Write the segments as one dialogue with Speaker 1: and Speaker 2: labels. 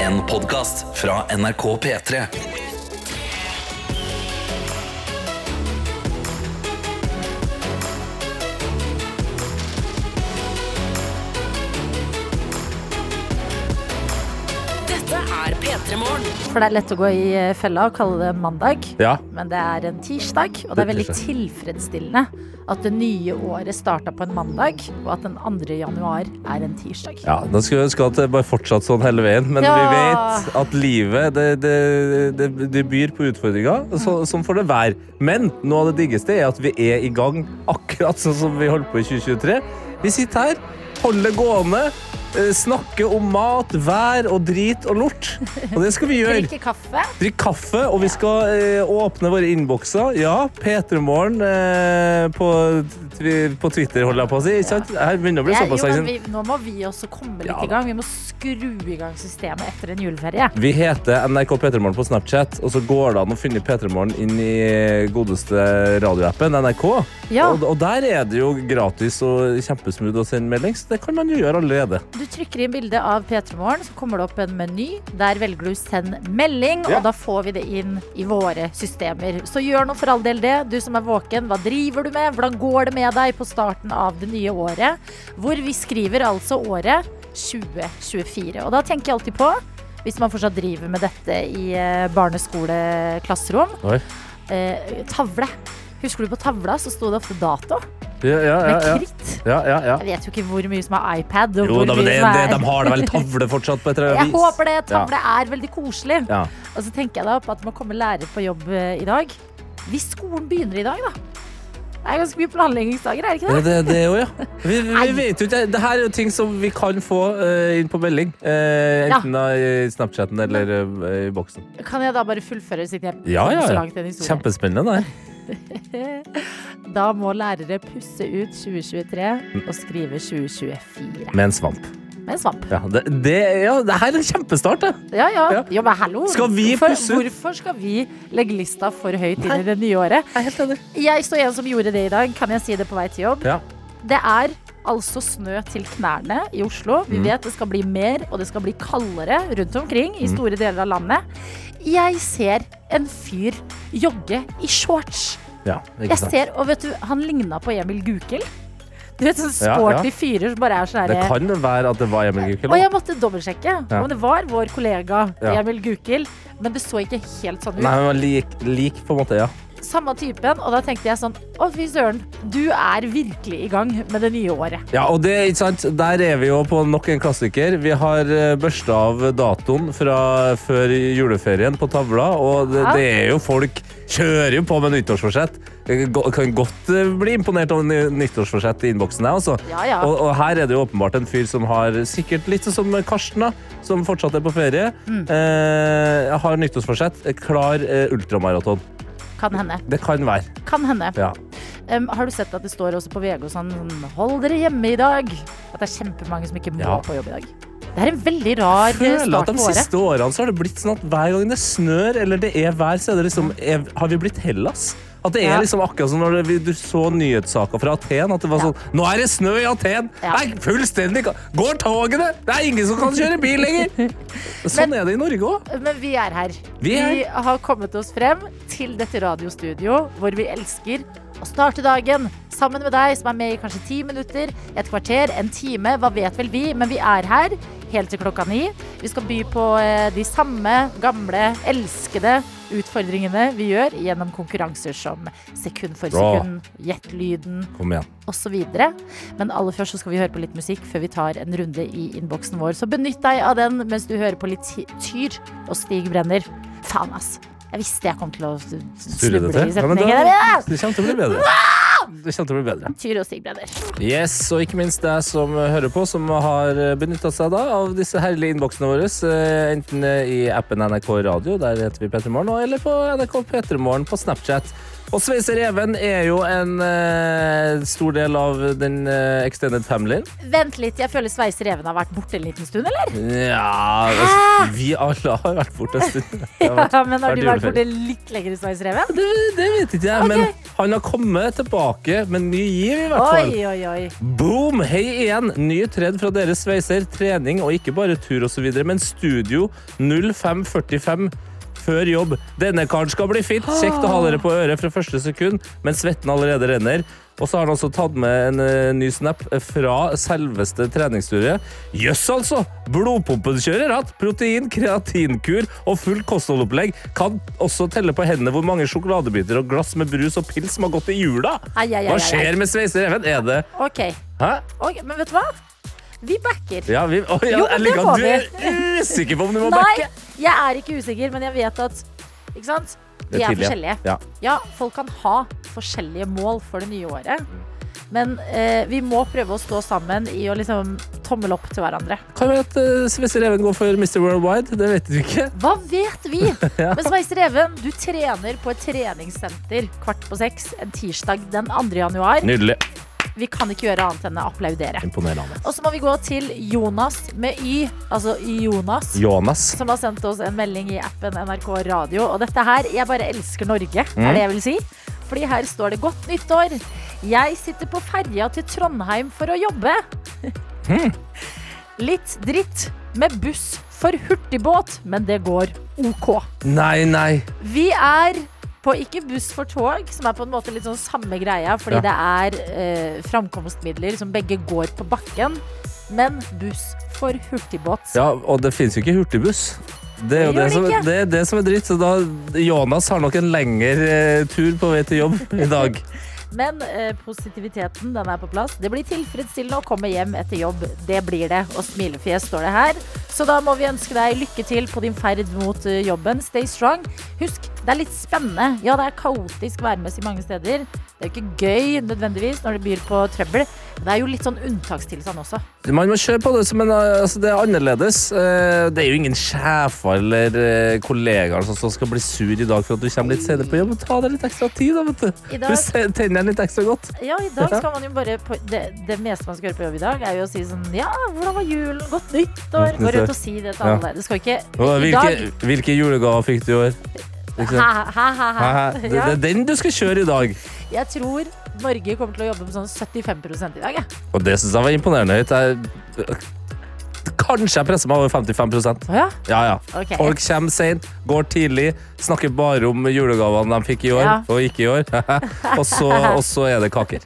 Speaker 1: En podcast fra NRK P3
Speaker 2: Dette er P3 Morgen.
Speaker 3: For det er lett å gå i eh, fella og kalle det mandag,
Speaker 4: Ja.
Speaker 3: men det er en tirsdag. Og det er veldig tilfredsstillende at det nye året starta på en mandag, og at den 2. januar er en tirsdag.
Speaker 4: ja, da skulle jeg ønske at det bare fortsatt sånn hele veien. Men
Speaker 3: Ja.
Speaker 4: vi vet at livet det, det, det, det byr på utfordringer. Så,
Speaker 3: Mm.
Speaker 4: sånn får det være. Men noe av det diggeste er at vi er i gang akkurat sånn som vi holdt på i 2023. Vi sitter her, holder det gående, eh, snakker om mat, vær og drit og lort. Og det skal vi gjøre.
Speaker 3: Drikke kaffe.
Speaker 4: Drikk kaffe, og vi skal eh, åpne våre innbokser. Ja, P3morgen eh, på, twi- på Twitter, holder jeg på å si. Ikke sant? Her begynner det å bli
Speaker 3: Jeg-
Speaker 4: såpass
Speaker 3: jo,
Speaker 4: lenge
Speaker 3: men
Speaker 4: siden.
Speaker 3: vi, nå må vi også komme litt
Speaker 4: Ja
Speaker 3: i
Speaker 4: da.
Speaker 3: gang. Vi må skru i gang systemet etter en juleferie.
Speaker 4: Vi heter NRK P3morgen på Snapchat, og så går det an å finne P3morgen inn i godeste radioappen NRK.
Speaker 3: Ja.
Speaker 4: Og, og der er det jo gratis og kjempesmooth å sende melding, så det kan man jo gjøre allerede.
Speaker 3: Du trykker inn bilde av P3 Morgen, så kommer det opp en meny. Der velger du 'send melding',
Speaker 4: Ja.
Speaker 3: og da får vi det inn i våre systemer. Så gjør nå for all del det. Du som er våken, hva driver du med? Hvordan går det med deg på starten av det nye året? Hvor vi skriver altså året 2024. Og da tenker jeg alltid på, hvis man fortsatt driver med dette i eh, barneskole-klasserom,
Speaker 4: Oi.
Speaker 3: eh, tavle. Husker du på tavla så sto det ofte dato
Speaker 4: Ja, ja,
Speaker 3: med
Speaker 4: ja. ja.
Speaker 3: kritt.
Speaker 4: ja, ja, ja.
Speaker 3: Jeg vet jo ikke hvor mye som er iPad. Og
Speaker 4: Jo,
Speaker 3: hvor
Speaker 4: da, men
Speaker 3: mye
Speaker 4: det,
Speaker 3: som
Speaker 4: det,
Speaker 3: er-
Speaker 4: de har da vel tavle fortsatt på et eller
Speaker 3: jeg
Speaker 4: annet vis.
Speaker 3: håper det. Tavle er veldig koselig.
Speaker 4: Ja.
Speaker 3: Og så tenker jeg da på at det må komme lærere på jobb eh, i dag. Hvis skolen begynner i dag, da. Det er ganske mye planleggingsdager, er det ikke
Speaker 4: Ja,
Speaker 3: det?
Speaker 4: det, det òg, ja. Vi, vi,
Speaker 3: Nei.
Speaker 4: vi vet jo ikke. Det her er jo ting som vi kan få eh, inn på melding. Eh,
Speaker 3: Ja.
Speaker 4: enten da i Snapchaten eller eh, i boksen.
Speaker 3: Kan jeg da bare fullføre siden jeg
Speaker 4: Ja,
Speaker 3: kom
Speaker 4: ja,
Speaker 3: så
Speaker 4: ja.
Speaker 3: langt i den historien?
Speaker 4: Kjempespennende. det her.
Speaker 3: Da må lærere pusse ut 2023 og skrive 2024
Speaker 4: Med en svamp.
Speaker 3: med en svamp.
Speaker 4: Ja, det, det, ja, det her er en kjempestart, det.
Speaker 3: Ja, ja.
Speaker 4: Ja.
Speaker 3: Jo, men hallo.
Speaker 4: Skal vi
Speaker 3: hvorfor,
Speaker 4: pusse ut?
Speaker 3: Hvorfor skal vi legge lista for høyt inn i det nye året?
Speaker 4: Jeg er helt enig.
Speaker 3: Jeg står en som gjorde det i dag. Kan jeg si det på vei til jobb?
Speaker 4: Ja.
Speaker 3: Det er altså snø til knærne i Oslo. Vi
Speaker 4: Mm.
Speaker 3: vet det skal bli mer, og det skal bli kaldere rundt omkring
Speaker 4: Mm.
Speaker 3: i store deler av landet. Jeg ser en fyr jogge i shorts.
Speaker 4: Ja, ikke
Speaker 3: Jeg
Speaker 4: sant.
Speaker 3: ser, og vet du, han ligna på Emil Gukild. Du vet sånne
Speaker 4: Ja,
Speaker 3: sporty
Speaker 4: ja.
Speaker 3: fyrer som bare er sånn
Speaker 4: Det
Speaker 3: herre
Speaker 4: kan jo være at det var Emil
Speaker 3: Og jeg
Speaker 4: Gukild.
Speaker 3: måtte dobbeltsjekke
Speaker 4: Ja.
Speaker 3: om det var vår kollega
Speaker 4: Ja.
Speaker 3: Emil Gukild, men det så ikke helt sånn ut.
Speaker 4: Nei, han var lik, lik, på en måte. Ja.
Speaker 3: Samme typen, og da tenkte jeg sånn Å, fy søren, du er virkelig i gang med det nye året.
Speaker 4: Ja, og det, ikke sant? Der er vi jo på nok en klassiker. Vi har eh, børsta av datoen fra før juleferien på tavla, og det,
Speaker 3: Ja.
Speaker 4: det er jo folk kjører jo på med nyttårsforsett. Jeg go- kan godt eh, bli imponert over ny- nyttårsforsett i innboksen, jeg, altså.
Speaker 3: Ja, ja.
Speaker 4: Og, og her er det jo åpenbart en fyr som har sikkert litt sånn som Karsten, da, som fortsatt er på ferie.
Speaker 3: Mm.
Speaker 4: Eh, har nyttårsforsett. Klar eh, ultramaraton.
Speaker 3: Kan hende.
Speaker 4: Det kan være.
Speaker 3: Kan hende.
Speaker 4: Ja.
Speaker 3: Um, har du sett at det står også på VG og sånn 'Hold dere hjemme i dag'? At det er kjempemange som ikke må
Speaker 4: Ja.
Speaker 3: på jobb i dag. Det er en veldig rar eh,
Speaker 4: føler at
Speaker 3: start
Speaker 4: de
Speaker 3: på året.
Speaker 4: siste årene så har det blitt sånn at hver gang det snør eller det er vær, så er det liksom er, Har vi blitt Hellas? At det er
Speaker 3: Ja.
Speaker 4: liksom akkurat som når det, du så nyhetssaker fra Aten. At det var
Speaker 3: Ja.
Speaker 4: sånn Nå er det snø i Aten!
Speaker 3: Ja.
Speaker 4: Nei, fullstendig ka- Går togene? Det er ingen som kan kjøre bil lenger! Sånn er det i Norge òg.
Speaker 3: Men vi er her.
Speaker 4: Vi er
Speaker 3: vi har kommet oss frem til dette radiostudio hvor vi elsker å starte dagen sammen med deg som er med i kanskje ti minutter, et kvarter, en time, hva vet vel vi. Men vi er her helt til klokka ni. Vi skal by på eh, de samme gamle, elskede utfordringene vi gjør gjennom konkurranser som sekund for
Speaker 4: Bra.
Speaker 3: sekund, gjett lyden
Speaker 4: Kom igjen.
Speaker 3: osv. Men aller først så skal vi høre på litt musikk før vi tar en runde i innboksen vår. Så benytt deg av den mens du hører på litt Ty- Tyr og Stig Brenner. Faen, ass. Jeg visste jeg kom til å s-
Speaker 4: Surre det
Speaker 3: snuble i
Speaker 4: til. Ja, men
Speaker 3: setningen.
Speaker 4: da-
Speaker 3: Jeg vet det!
Speaker 4: Det kommer til å bli bedre. Det kommer til å bli bedre.
Speaker 3: Tyr og Stig Brenner.
Speaker 4: Yes, og ikke minst deg som hører på, som har benytta seg da av disse herlige innboksene våre. eh, Enten i appen NRK Radio, der heter vi P3morgen, og- eller på NRK P3morgen på Snapchat. Og sveisereven er jo en eh, stor del av den eh, extended familyen.
Speaker 3: Vent litt, jeg føler sveisereven har vært borte en liten stund, eller?
Speaker 4: Ja altså, Vi alle har vært borte en stund. Det har vært-
Speaker 3: Ah! Ja, men har
Speaker 4: vært
Speaker 3: du vært
Speaker 4: juleferie.
Speaker 3: borte litt lenger i sveisereven?
Speaker 4: det, det vet ikke jeg,
Speaker 3: Ok.
Speaker 4: men han har kommet tilbake med ny giv, i hvert fall.
Speaker 3: Oi, oi, oi.
Speaker 4: Boom! Hei igjen! Ny tredd fra deres sveiser. Trening og ikke bare tur osv., men studio 0545 før jobb. Denne karen skal bli fit. Kjekt å ha dere på øret fra første sekund, men svetten allerede renner. Og så har han også tatt med en eh, ny snap fra selveste treningsstudiet. Jøss, altså! Blodpumpen kjører hatt. Protein, kreatinkur og fullt kostholdopplegg. Kan også telle på hendene hvor mange sjokoladebiter og glass med brus og pils som har gått i jula.
Speaker 3: Ai, ai, ai,
Speaker 4: Hva
Speaker 3: ai, ai.
Speaker 4: skjer med sveisereven? Er det
Speaker 3: Ok.
Speaker 4: Hæ?
Speaker 3: ok, men vet du hva? Vi backer.
Speaker 4: Ja, vi, å, ja,
Speaker 3: Jo, men
Speaker 4: jeg
Speaker 3: det
Speaker 4: liker
Speaker 3: må
Speaker 4: at du er usikker på om du må
Speaker 3: Nei,
Speaker 4: backe.
Speaker 3: jeg er ikke usikker, men jeg vet at Ikke sant? Vi
Speaker 4: Det
Speaker 3: er
Speaker 4: tidlig,
Speaker 3: forskjellige.
Speaker 4: Ja.
Speaker 3: Ja, folk kan ha forskjellige mål for det nye året. Men eh, vi må prøve å stå sammen i å liksom tommel opp til hverandre.
Speaker 4: Kan være at uh, Svesse Reven går for Mr. Worldwide. Det vet du ikke.
Speaker 3: Hva vet vi? Men Sveiser Even, du trener på et treningssenter kvart på seks en tirsdag den 2. januar.
Speaker 4: Nydelig.
Speaker 3: Vi kan ikke gjøre annet enn å applaudere.
Speaker 4: Imponerende.
Speaker 3: Og så må vi gå til Jonas med Y, altså Jonas.
Speaker 4: Jonas.
Speaker 3: Som har sendt oss en melding i appen NRK Radio. Og dette her Jeg bare elsker Norge, er det jeg vil si. Fordi her står det 'Godt nyttår'. Jeg sitter på ferja til Trondheim for å jobbe. Litt dritt med buss for hurtigbåt, men det går OK.
Speaker 4: Nei, nei.
Speaker 3: Vi er på ikke buss for tog, som er på en måte litt sånn samme greia, fordi
Speaker 4: Ja.
Speaker 3: det er eh, framkomstmidler som begge går på bakken, men buss for hurtigbåt.
Speaker 4: Ja, og det finnes jo ikke hurtigbuss. Det er jo
Speaker 3: Det
Speaker 4: det
Speaker 3: gjør
Speaker 4: som,
Speaker 3: det ikke.
Speaker 4: det, er det som er dritt. Så da, Jonas har nok en lengre eh, tur på vei til jobb i dag.
Speaker 3: Men eh, positiviteten, den er på plass. Det blir tilfredsstillende å komme hjem etter jobb. Det blir det. Og smilefjes står det her. Så da må vi ønske deg lykke til på din ferd mot eh, jobben. Stay strong. Husk, det er litt spennende. Ja, det er kaotisk værmessig mange steder. Det er jo ikke gøy nødvendigvis når det byr på trøbbel. Men det er jo litt sånn unntakstilstand også.
Speaker 4: Man må kjøre på det, som en, altså det er annerledes. Eh, Det er jo ingen sjefer eller eh, kollegaer som som skal bli sur i dag for at du kommer litt senere på jobb. Ta deg litt ekstra tid, da, vet du.
Speaker 3: I dag-
Speaker 4: Puss tennene litt ekstra godt.
Speaker 3: Ja, i dag skal man jo bare på, det, det meste man skal gjøre på jobb i dag, er jo å si sånn Ja, hvordan var julen? Godt nyttår! Gå rundt og si det til
Speaker 4: Ja.
Speaker 3: alle. Det skal ikke
Speaker 4: Og
Speaker 3: I
Speaker 4: Hvilke,
Speaker 3: dag
Speaker 4: hvilke julegaver fikk du i år? Ikke sant? Hæ,
Speaker 3: Ha-ha-ha.
Speaker 4: hæ. Det, det
Speaker 3: Ja,
Speaker 4: er den du skal kjøre i dag.
Speaker 3: jeg tror Norge kommer til å jobbe på sånn 75 i dag, jeg.
Speaker 4: Og det syns jeg var imponerende høyt. Jeg, kanskje jeg presser meg over 55
Speaker 3: Å ja?
Speaker 4: Ja, ja.
Speaker 3: Ok.
Speaker 4: Folk kommer seint, går tidlig, snakker bare om julegavene de fikk i år
Speaker 3: Ja.
Speaker 4: og ikke i år. og, så, og så er det kaker.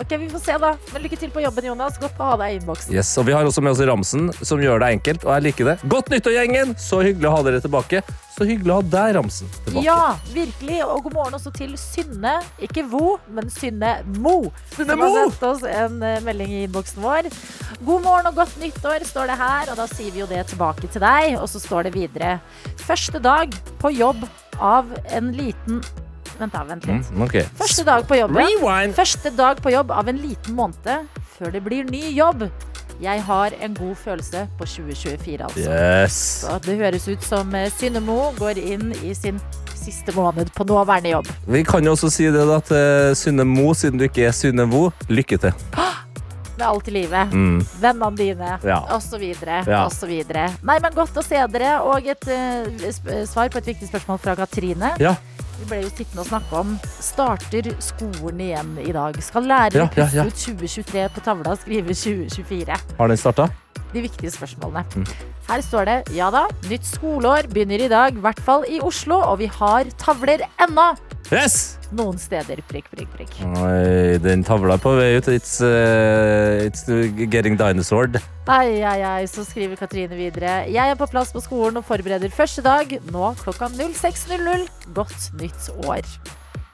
Speaker 3: Ok, vi får se, da. Men lykke til på jobben, Jonas. Godt å ha deg i innboksen.
Speaker 4: Yes, og Vi har også med oss Ramsen, som gjør det enkelt. og jeg liker det. Godt nyttår, gjengen! Så hyggelig å ha dere tilbake. Så hyggelig å ha deg, Ramsen, tilbake.
Speaker 3: Ja, virkelig. Og god morgen også til Synne. Ikke Vo, men Synne Mo.
Speaker 4: Synne
Speaker 3: Som har
Speaker 4: Mo!
Speaker 3: sendt oss en eh, melding i innboksen vår. God morgen og godt nyttår, står det her. Og da sier vi jo det tilbake til deg. Og så står det videre. Første dag på jobb av en liten Vent, da. Vent litt.
Speaker 4: Mm, ok.
Speaker 3: Første dag på jobben.
Speaker 4: Rewind.
Speaker 3: Første dag på jobb av en liten måned før det blir ny jobb. Jeg har en god følelse på 2024, altså.
Speaker 4: Yes.
Speaker 3: Så det høres ut som eh, Synnemo går inn i sin siste måned på nåværende jobb.
Speaker 4: Vi kan jo også si det da til Synne Mo, siden du ikke er Synne Vo. Lykke til. Mm.
Speaker 3: Med alt i livet. Vennene dine,
Speaker 4: Ja.
Speaker 3: osv.
Speaker 4: Ja.
Speaker 3: osv. Nei, men godt å se dere. Og et eh, sp- svar på et viktig spørsmål fra Katrine.
Speaker 4: Ja,
Speaker 3: Vi ble jo sittende og snakke om Starter skolen igjen i dag? Skal lærere
Speaker 4: Ja, ja, ja.
Speaker 3: puste ut 2023 på tavla og skrive 2024?
Speaker 4: Har den starta?
Speaker 3: de viktige spørsmålene.
Speaker 4: Mm.
Speaker 3: Her står det ja da, nytt skoleår begynner i dag, i hvert fall i Oslo, og vi har tavler ennå
Speaker 4: Yes!
Speaker 3: noen steder. prikk, prikk, prikk.
Speaker 4: Oi, den tavla er på vei ut. It's, uh, it's getting dinosaur.
Speaker 3: Ai, ai, ai, så skriver Katrine videre. Jeg er på plass på skolen og forbereder første dag, nå klokka 06.00. Godt nytt år.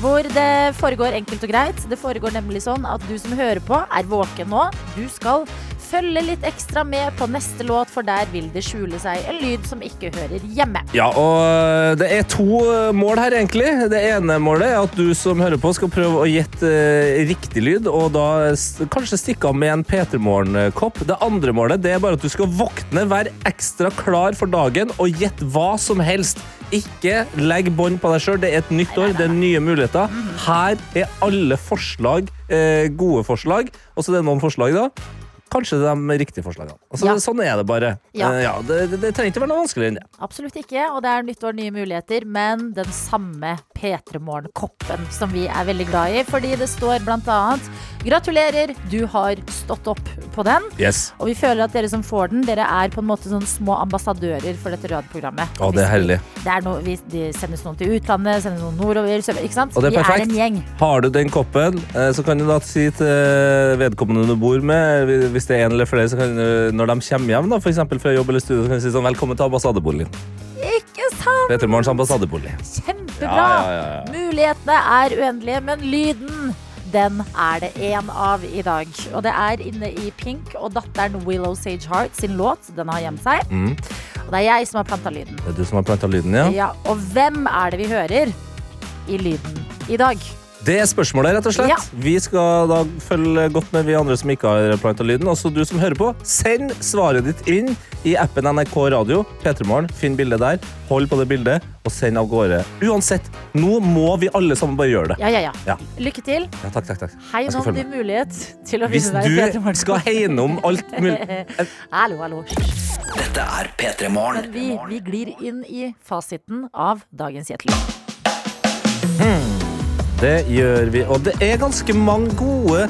Speaker 3: hvor det foregår enkelt og greit. Det foregår nemlig sånn at du som hører på, er våken nå. Du skal følge litt ekstra med på neste låt, for der vil det skjule seg en lyd som ikke hører hjemme.
Speaker 4: Ja, og det er to eh, mål her, egentlig. Det ene målet er at du som hører på, skal prøve å gjette eh, riktig lyd, og da s- kanskje stikke av med en P3 Morgen-kopp. Det andre målet det er bare at du skal våkne, være ekstra klar for dagen og gjette hva som helst. Ikke legg bånd på deg sjøl. Det er et nytt år, det er nye muligheter. Her er alle forslag eh, gode forslag, og så er det noen forslag, da. Kanskje det er de riktige forslagene. Altså,
Speaker 3: Ja.
Speaker 4: Sånn er det bare.
Speaker 3: Ja.
Speaker 4: Eh, ja, det, det, det trenger ikke være noe vanskeligere enn det.
Speaker 3: Absolutt ikke, og det er nytt år, nye muligheter, men den samme P3 Morgen-koppen som vi er veldig glad i, fordi det står blant annet Gratulerer, du har stått opp på den.
Speaker 4: Yes.
Speaker 3: Og vi føler at dere som får den, dere er på en måte sånn små ambassadører for dette radioprogrammet.
Speaker 4: Å, det er herlig.
Speaker 3: Det er noe, vi, de sendes noen til utlandet, sendes noen nordover, sørover, ikke sant?
Speaker 4: Og det er
Speaker 3: vi er
Speaker 4: perfekt.
Speaker 3: en gjeng.
Speaker 4: Har du den koppen, eh, så kan du da si til eh, vedkommende du bor med, eh, hvis det er en eller flere, så kan du, når de kommer hjem da, for eksempel fra jobb eller studio, så kan du si sånn, velkommen til ambassadeboligen.
Speaker 3: Ikke sant?
Speaker 4: Petremorgens ambassadebolig.
Speaker 3: Kjempebra!
Speaker 4: Ja, ja, ja, ja.
Speaker 3: Mulighetene er uendelige, men lyden den er det én av i dag. Og det er inne i Pink og datteren Willow Sage Heart sin låt. Den har gjemt seg.
Speaker 4: Mm.
Speaker 3: Og det er jeg som har planta lyden.
Speaker 4: Det er du som har plantet lyden, ja.
Speaker 3: Ja, og hvem er det vi hører i lyden i dag?
Speaker 4: Det er spørsmålet, rett og slett.
Speaker 3: Ja.
Speaker 4: Vi skal da følge godt med vi andre som ikke har plantet lyden. Også du som hører på, send svaret ditt inn i appen NRK Radio. Petremorgen, finn bildet der, hold på det bildet, og send av gårde. Uansett, nå må vi alle sammen bare gjøre det.
Speaker 3: Ja, ja, ja.
Speaker 4: Ja.
Speaker 3: Lykke til.
Speaker 4: Ja, takk, takk, takk.
Speaker 3: Hei, nå
Speaker 4: Jeg skal
Speaker 3: har
Speaker 4: følge
Speaker 3: du mulighet til å
Speaker 4: Hvis
Speaker 3: vinne deg bedre
Speaker 4: du
Speaker 3: morgen.
Speaker 4: skal hegne om alt mulig
Speaker 3: Hallo, hallo.
Speaker 1: Dette er P3
Speaker 3: Men
Speaker 1: Morgen.
Speaker 3: vi, vi glir inn i fasiten av dagens gjettelyd.
Speaker 4: Det gjør vi. Og det er ganske mange gode,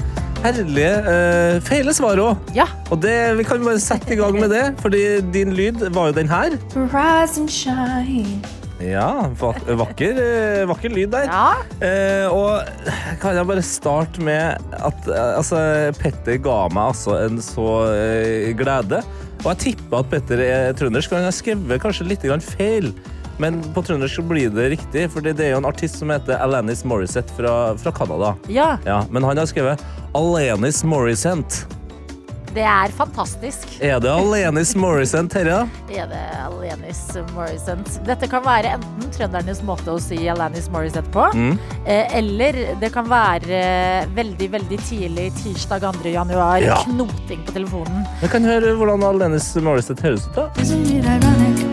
Speaker 4: herlige eh, feile svar òg.
Speaker 3: Ja,
Speaker 4: Og det, vi kan bare sette i gang med det, fordi din lyd var jo den her.
Speaker 5: Rise and shine.
Speaker 4: Ja, va vakker, eh, vakker lyd der.
Speaker 3: ja.
Speaker 4: Eh, og kan jeg bare starte med at eh, altså, Petter ga meg altså en så eh, glede. Og jeg tipper at Petter er trøndersk, og han har skrevet kanskje litt grann feil. Men på trøndersk så blir det riktig, for det er jo en artist som heter Alanis Morissette fra, fra Canada.
Speaker 3: ja.
Speaker 4: Ja, men han har skrevet Alanis Morissette.
Speaker 3: Det er fantastisk.
Speaker 4: Er det Alanis Morissette, Terje?
Speaker 3: Er det Alanis Morissette? Dette kan være enten trøndernes måte å si Alanis Morissette på,
Speaker 4: Mm.
Speaker 3: eh, eller det kan være eh, veldig, veldig tidlig tirsdag 2. januar,
Speaker 4: Ja.
Speaker 3: knoting på telefonen.
Speaker 4: Vi kan høre hvordan Alanis Morissette høres ut, da.
Speaker 5: Isn't it ironic?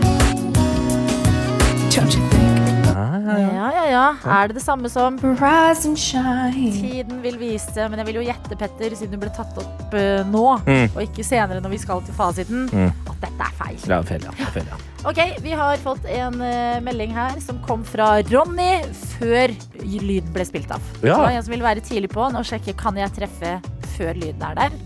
Speaker 5: Don't you think?
Speaker 4: Ja, ja, ja.
Speaker 3: Ja, ja, ja. Er det det samme som
Speaker 5: Rise and shine.
Speaker 3: Tiden vil vise, men jeg vil jo gjette, Petter, siden du ble tatt opp eh, nå,
Speaker 4: Mm.
Speaker 3: og ikke senere når vi skal til fasiten,
Speaker 4: Mm.
Speaker 3: at dette er feil.
Speaker 4: Ja, feil, ja. Feil, ja.
Speaker 3: Ok, vi har fått en eh, melding her som kom fra Ronny før lyd ble spilt av.
Speaker 4: Ja.
Speaker 3: Så det var en som ville være tidlig på og sjekke kan jeg treffe før lyden er der.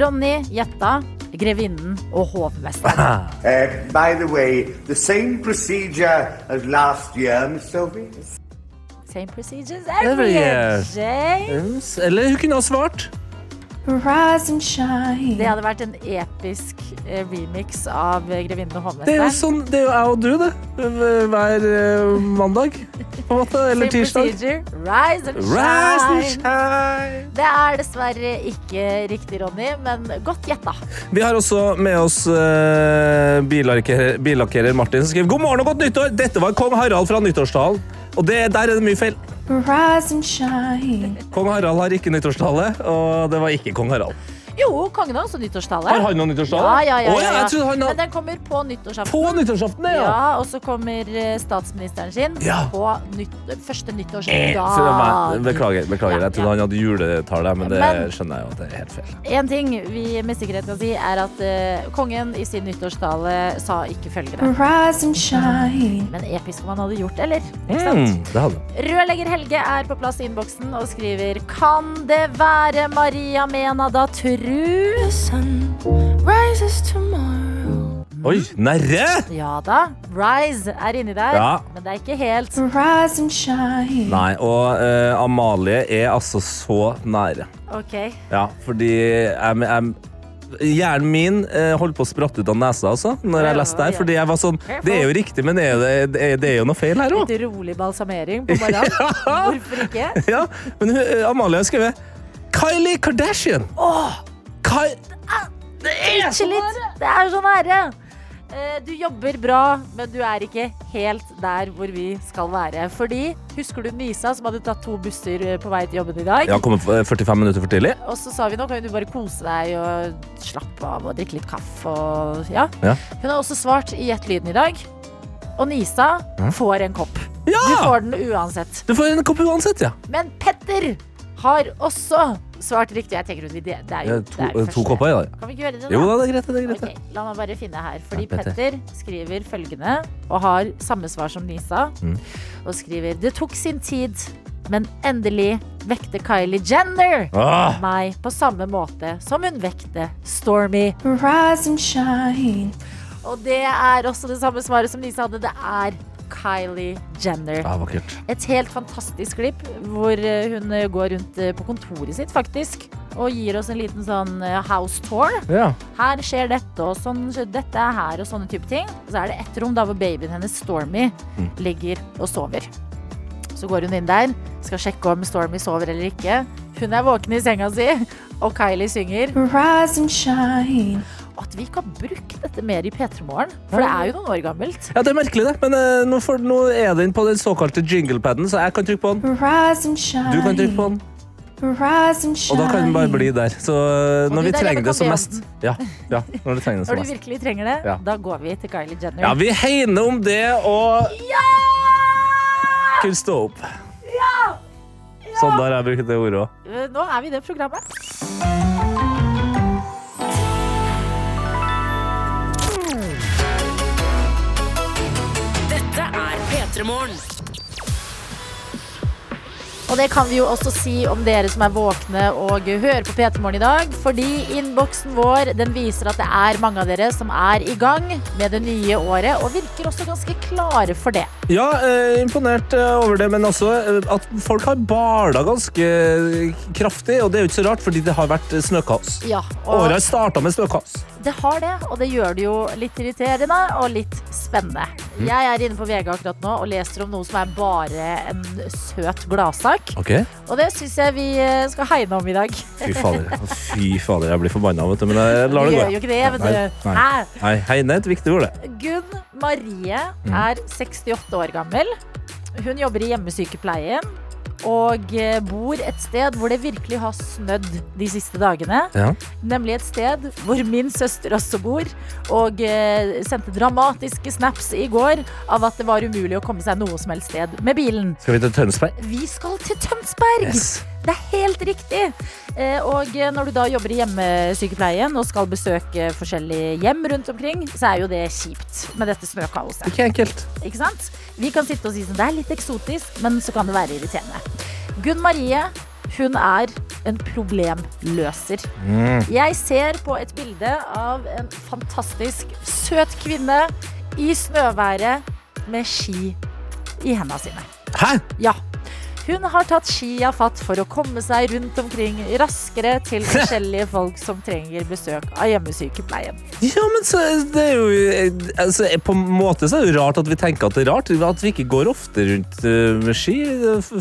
Speaker 3: Ronny, gjetta, grevinnen og hovmesteren.
Speaker 6: Uh, by the way, the same procedure as last year, Miss Sophie.
Speaker 3: Same procedures
Speaker 4: Every
Speaker 3: every year.
Speaker 4: year.
Speaker 3: Jay.
Speaker 4: Eller hun kunne ha svart.
Speaker 5: Rise and shine.
Speaker 3: Det hadde vært en episk eh, remix av eh, grevinnen og
Speaker 4: Det er jo
Speaker 3: hovmesteren.
Speaker 4: sånn, det er jo jeg og du, det. Hver eh, mandag, på en måte. Eller
Speaker 3: Same
Speaker 4: tirsdag.
Speaker 3: procedure. Rise and shine.
Speaker 4: Rise and shine.
Speaker 3: Det er dessverre ikke riktig, Ronny, men godt gjetta.
Speaker 4: Vi har også med oss eh, billakkerer, billakkerer Martin, som skriver God morgen og godt nyttår! Dette var kong Harald fra nyttårstalen. Og det, der er det mye feil.
Speaker 5: Rise and shine.
Speaker 4: Kong Harald har ikke nyttårstale, og det var ikke kong Harald.
Speaker 3: Jo, kongen har også nyttårstale.
Speaker 4: Har han noen nyttårstale?
Speaker 3: Ja, ja, ja,
Speaker 4: Å,
Speaker 3: ja, ja.
Speaker 4: jeg trodde han
Speaker 3: Men
Speaker 4: hadde
Speaker 3: den kommer på nyttårsaften.
Speaker 4: på nyttårsaften, ja!
Speaker 3: Ja, og så kommer eh, statsministeren sin
Speaker 4: Ja. Eh,
Speaker 3: på nytt, første
Speaker 4: Så det var-
Speaker 3: nyttårsdag.
Speaker 4: Beklager, beklager.
Speaker 3: Ja,
Speaker 4: Jeg trodde
Speaker 3: ja.
Speaker 4: han hadde juletale, men det
Speaker 3: Men-
Speaker 4: skjønner jeg jo at det er helt feil.
Speaker 3: En ting vi med sikkerhet kan si, er at eh, kongen i sin nyttårstale sa ikke følgende.
Speaker 4: Mm.
Speaker 5: Rise and shine.
Speaker 3: Men episk om han hadde gjort, eller? Ikke sant?
Speaker 4: Mm, det hadde han.
Speaker 3: Rørlegger Helge er på plass i innboksen og skriver Kan det være Maria Mena da tru?
Speaker 5: The sun rises tomorrow.
Speaker 4: Oi, nærre!
Speaker 3: Ja da, Rise er inni der,
Speaker 4: Ja.
Speaker 3: men det er ikke helt.
Speaker 5: Rise and shine.
Speaker 4: Nei, og eh, Amalie er altså så nære.
Speaker 3: Ok,
Speaker 4: Ja, fordi jeg, jeg, Hjernen min eh, holdt på å spratte ut av nesa altså, når jeg leste det her. Fordi jeg var sånn Det er jo riktig, men er det, er, det er jo noe feil her òg.
Speaker 3: Litt rolig balsamering på morgenen. Hvorfor ikke?
Speaker 4: Ja, men hun, eh, Amalie har skrevet Kylie Kardashian. Ky
Speaker 3: Ikke litt. Det er så nære. Eh, Du jobber bra, men du er ikke helt der hvor vi skal være. Fordi, husker du Nisa som hadde tatt to busser eh, på vei til jobben i dag?
Speaker 4: ja, kom opp, eh, 45 minutter for tidlig.
Speaker 3: Og så sa vi nå kan jo du bare kose deg og slappe av og drikke litt kaffe og ja.
Speaker 4: Ja.
Speaker 3: Hun har også svart i Gjett lyden i dag. Og Nisa får en kopp.
Speaker 4: Ja!
Speaker 3: Du får den uansett.
Speaker 4: Du får en kopp uansett, ja.
Speaker 3: Men Petter har også svart riktig. Jeg tenker ut, vi- det, det er jo
Speaker 4: Ja,
Speaker 3: det er
Speaker 4: To,
Speaker 3: jo
Speaker 4: eh, to
Speaker 3: første.
Speaker 4: kopper i dag.
Speaker 3: Kan vi ikke gjøre det, da?
Speaker 4: Jo da, det er greit. det er greit ja.
Speaker 3: Ok, la meg bare finne her. Fordi
Speaker 4: Ja, Petter.
Speaker 3: Petter skriver følgende, og har samme svar som Nisa.
Speaker 4: Mm.
Speaker 3: Og skriver Det tok sin tid, men endelig vekte Kylie Jenner
Speaker 4: Ah,
Speaker 3: meg på samme måte som hun vekte Stormy.
Speaker 5: Rise and shine.
Speaker 3: Og det er også det samme svaret som Nisa hadde. Det er Kylie Jenner.
Speaker 4: ja, vakkert.
Speaker 3: Et helt fantastisk klipp hvor eh, hun eh, går rundt eh, på kontoret sitt, faktisk. Og gir oss en liten sånn eh, house tour.
Speaker 4: Ja.
Speaker 3: Her skjer dette og sånn, skjer- dette er her og sånne type ting. Og så er det ett rom da hvor babyen hennes, Stormy, ligger og sover. Så går hun inn der, skal sjekke om Stormy sover eller ikke. Hun er våken i senga si, og Kylie synger.
Speaker 5: Rise and shine.
Speaker 3: Og at vi ikke har brukt dette mer i P3 Morgen, for det er jo noen år gammelt.
Speaker 4: Ja, Det er merkelig, det. Men eh, nå, får, nå er den på den såkalte jinglepaden, så jeg kan trykke på den.
Speaker 5: Rise and shine.
Speaker 4: Du kan trykke på den,
Speaker 5: Rise and shine.
Speaker 4: og da kan den bare bli der. Så eh,
Speaker 3: du
Speaker 4: når vi
Speaker 3: der,
Speaker 4: trenger
Speaker 3: Rebecca
Speaker 4: det som mest.
Speaker 3: Bjørnsen.
Speaker 4: Ja, ja, når du trenger det
Speaker 3: Når
Speaker 4: som
Speaker 3: du
Speaker 4: mest.
Speaker 3: virkelig trenger det,
Speaker 4: Ja.
Speaker 3: da går vi til Kylie Jenner.
Speaker 4: Ja, vi hegner om det og Ja! Kunne stå opp. Sånn der har jeg brukt det ordet òg.
Speaker 3: Eh, Nå er vi i det programmet.
Speaker 2: Dette er P3 Morgen.
Speaker 3: Og det kan vi jo også si om dere som er våkne og hører på P3 Morgen i dag. Fordi innboksen vår den viser at det er mange av dere som er i gang med det nye året. Og virker også ganske klare for det.
Speaker 4: Ja, eh, imponert eh, over det, men også eh, at folk har bala ganske eh, kraftig. Og det er jo ikke så rart, fordi det har vært eh, snøkaos.
Speaker 3: Ja, og
Speaker 4: Året starta med snøkaos.
Speaker 3: det har det, og det gjør det jo litt irriterende og litt spennende.
Speaker 4: Mm.
Speaker 3: Jeg er inne på VG akkurat nå og leser om noe som er bare en søt gladsak.
Speaker 4: Okay.
Speaker 3: Og det syns jeg vi eh, skal hegne om i dag.
Speaker 4: Fy fader, fy fader, jeg blir forbanna, vet du. Men jeg lar
Speaker 3: Vi
Speaker 4: det
Speaker 3: gjør jo
Speaker 4: gå.
Speaker 3: ikke det, vet
Speaker 4: Nei,
Speaker 3: du.
Speaker 4: nei.
Speaker 3: Hæ?
Speaker 4: Nei, Heine er et viktig ord, det.
Speaker 3: Gunn Marie
Speaker 4: Mm.
Speaker 3: er 68 år gammel. Hun jobber i hjemmesykepleien og eh, bor et sted hvor det virkelig har snødd de siste dagene.
Speaker 4: Ja.
Speaker 3: Nemlig et sted hvor min søster også bor, og eh, sendte dramatiske snaps i går av at det var umulig å komme seg noe som helst sted med bilen.
Speaker 4: Skal vi til Tønsberg?
Speaker 3: Vi skal til Tønsberg!
Speaker 4: Yes.
Speaker 3: Det er helt riktig. Eh, Og når du da jobber i hjemmesykepleien og skal besøke forskjellige hjem rundt omkring, så er jo det kjipt med dette snøkaoset.
Speaker 4: Ikke enkelt.
Speaker 3: Ikke sant? Vi kan sitte og si sånn, det er litt eksotisk, men så kan det være irriterende. Gunn Marie, hun er en problemløser. Jeg ser på et bilde av en fantastisk søt kvinne i snøværet med ski i hendene sine.
Speaker 4: Hæ?
Speaker 3: Ja. Hun har tatt skia fatt for å komme seg rundt omkring raskere til forskjellige folk som trenger besøk av hjemmesykepleien.
Speaker 4: Ja, men så, det er jo altså, På en måte så er det jo rart at vi tenker at det er rart. At vi ikke går ofte rundt eh, med ski.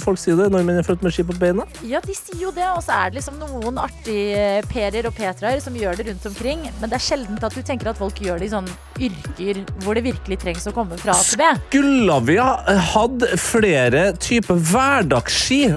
Speaker 4: Folk sier det. Nordmenn er født med ski på beina.
Speaker 3: Ja, de sier jo det, og så er det liksom noen artige perer og petraer som gjør det rundt omkring, men det er sjeldent at du tenker at folk gjør det i sånne yrker hvor det virkelig trengs å komme fra A til B.
Speaker 4: Skulle vi ha hatt flere typer hverdagsski?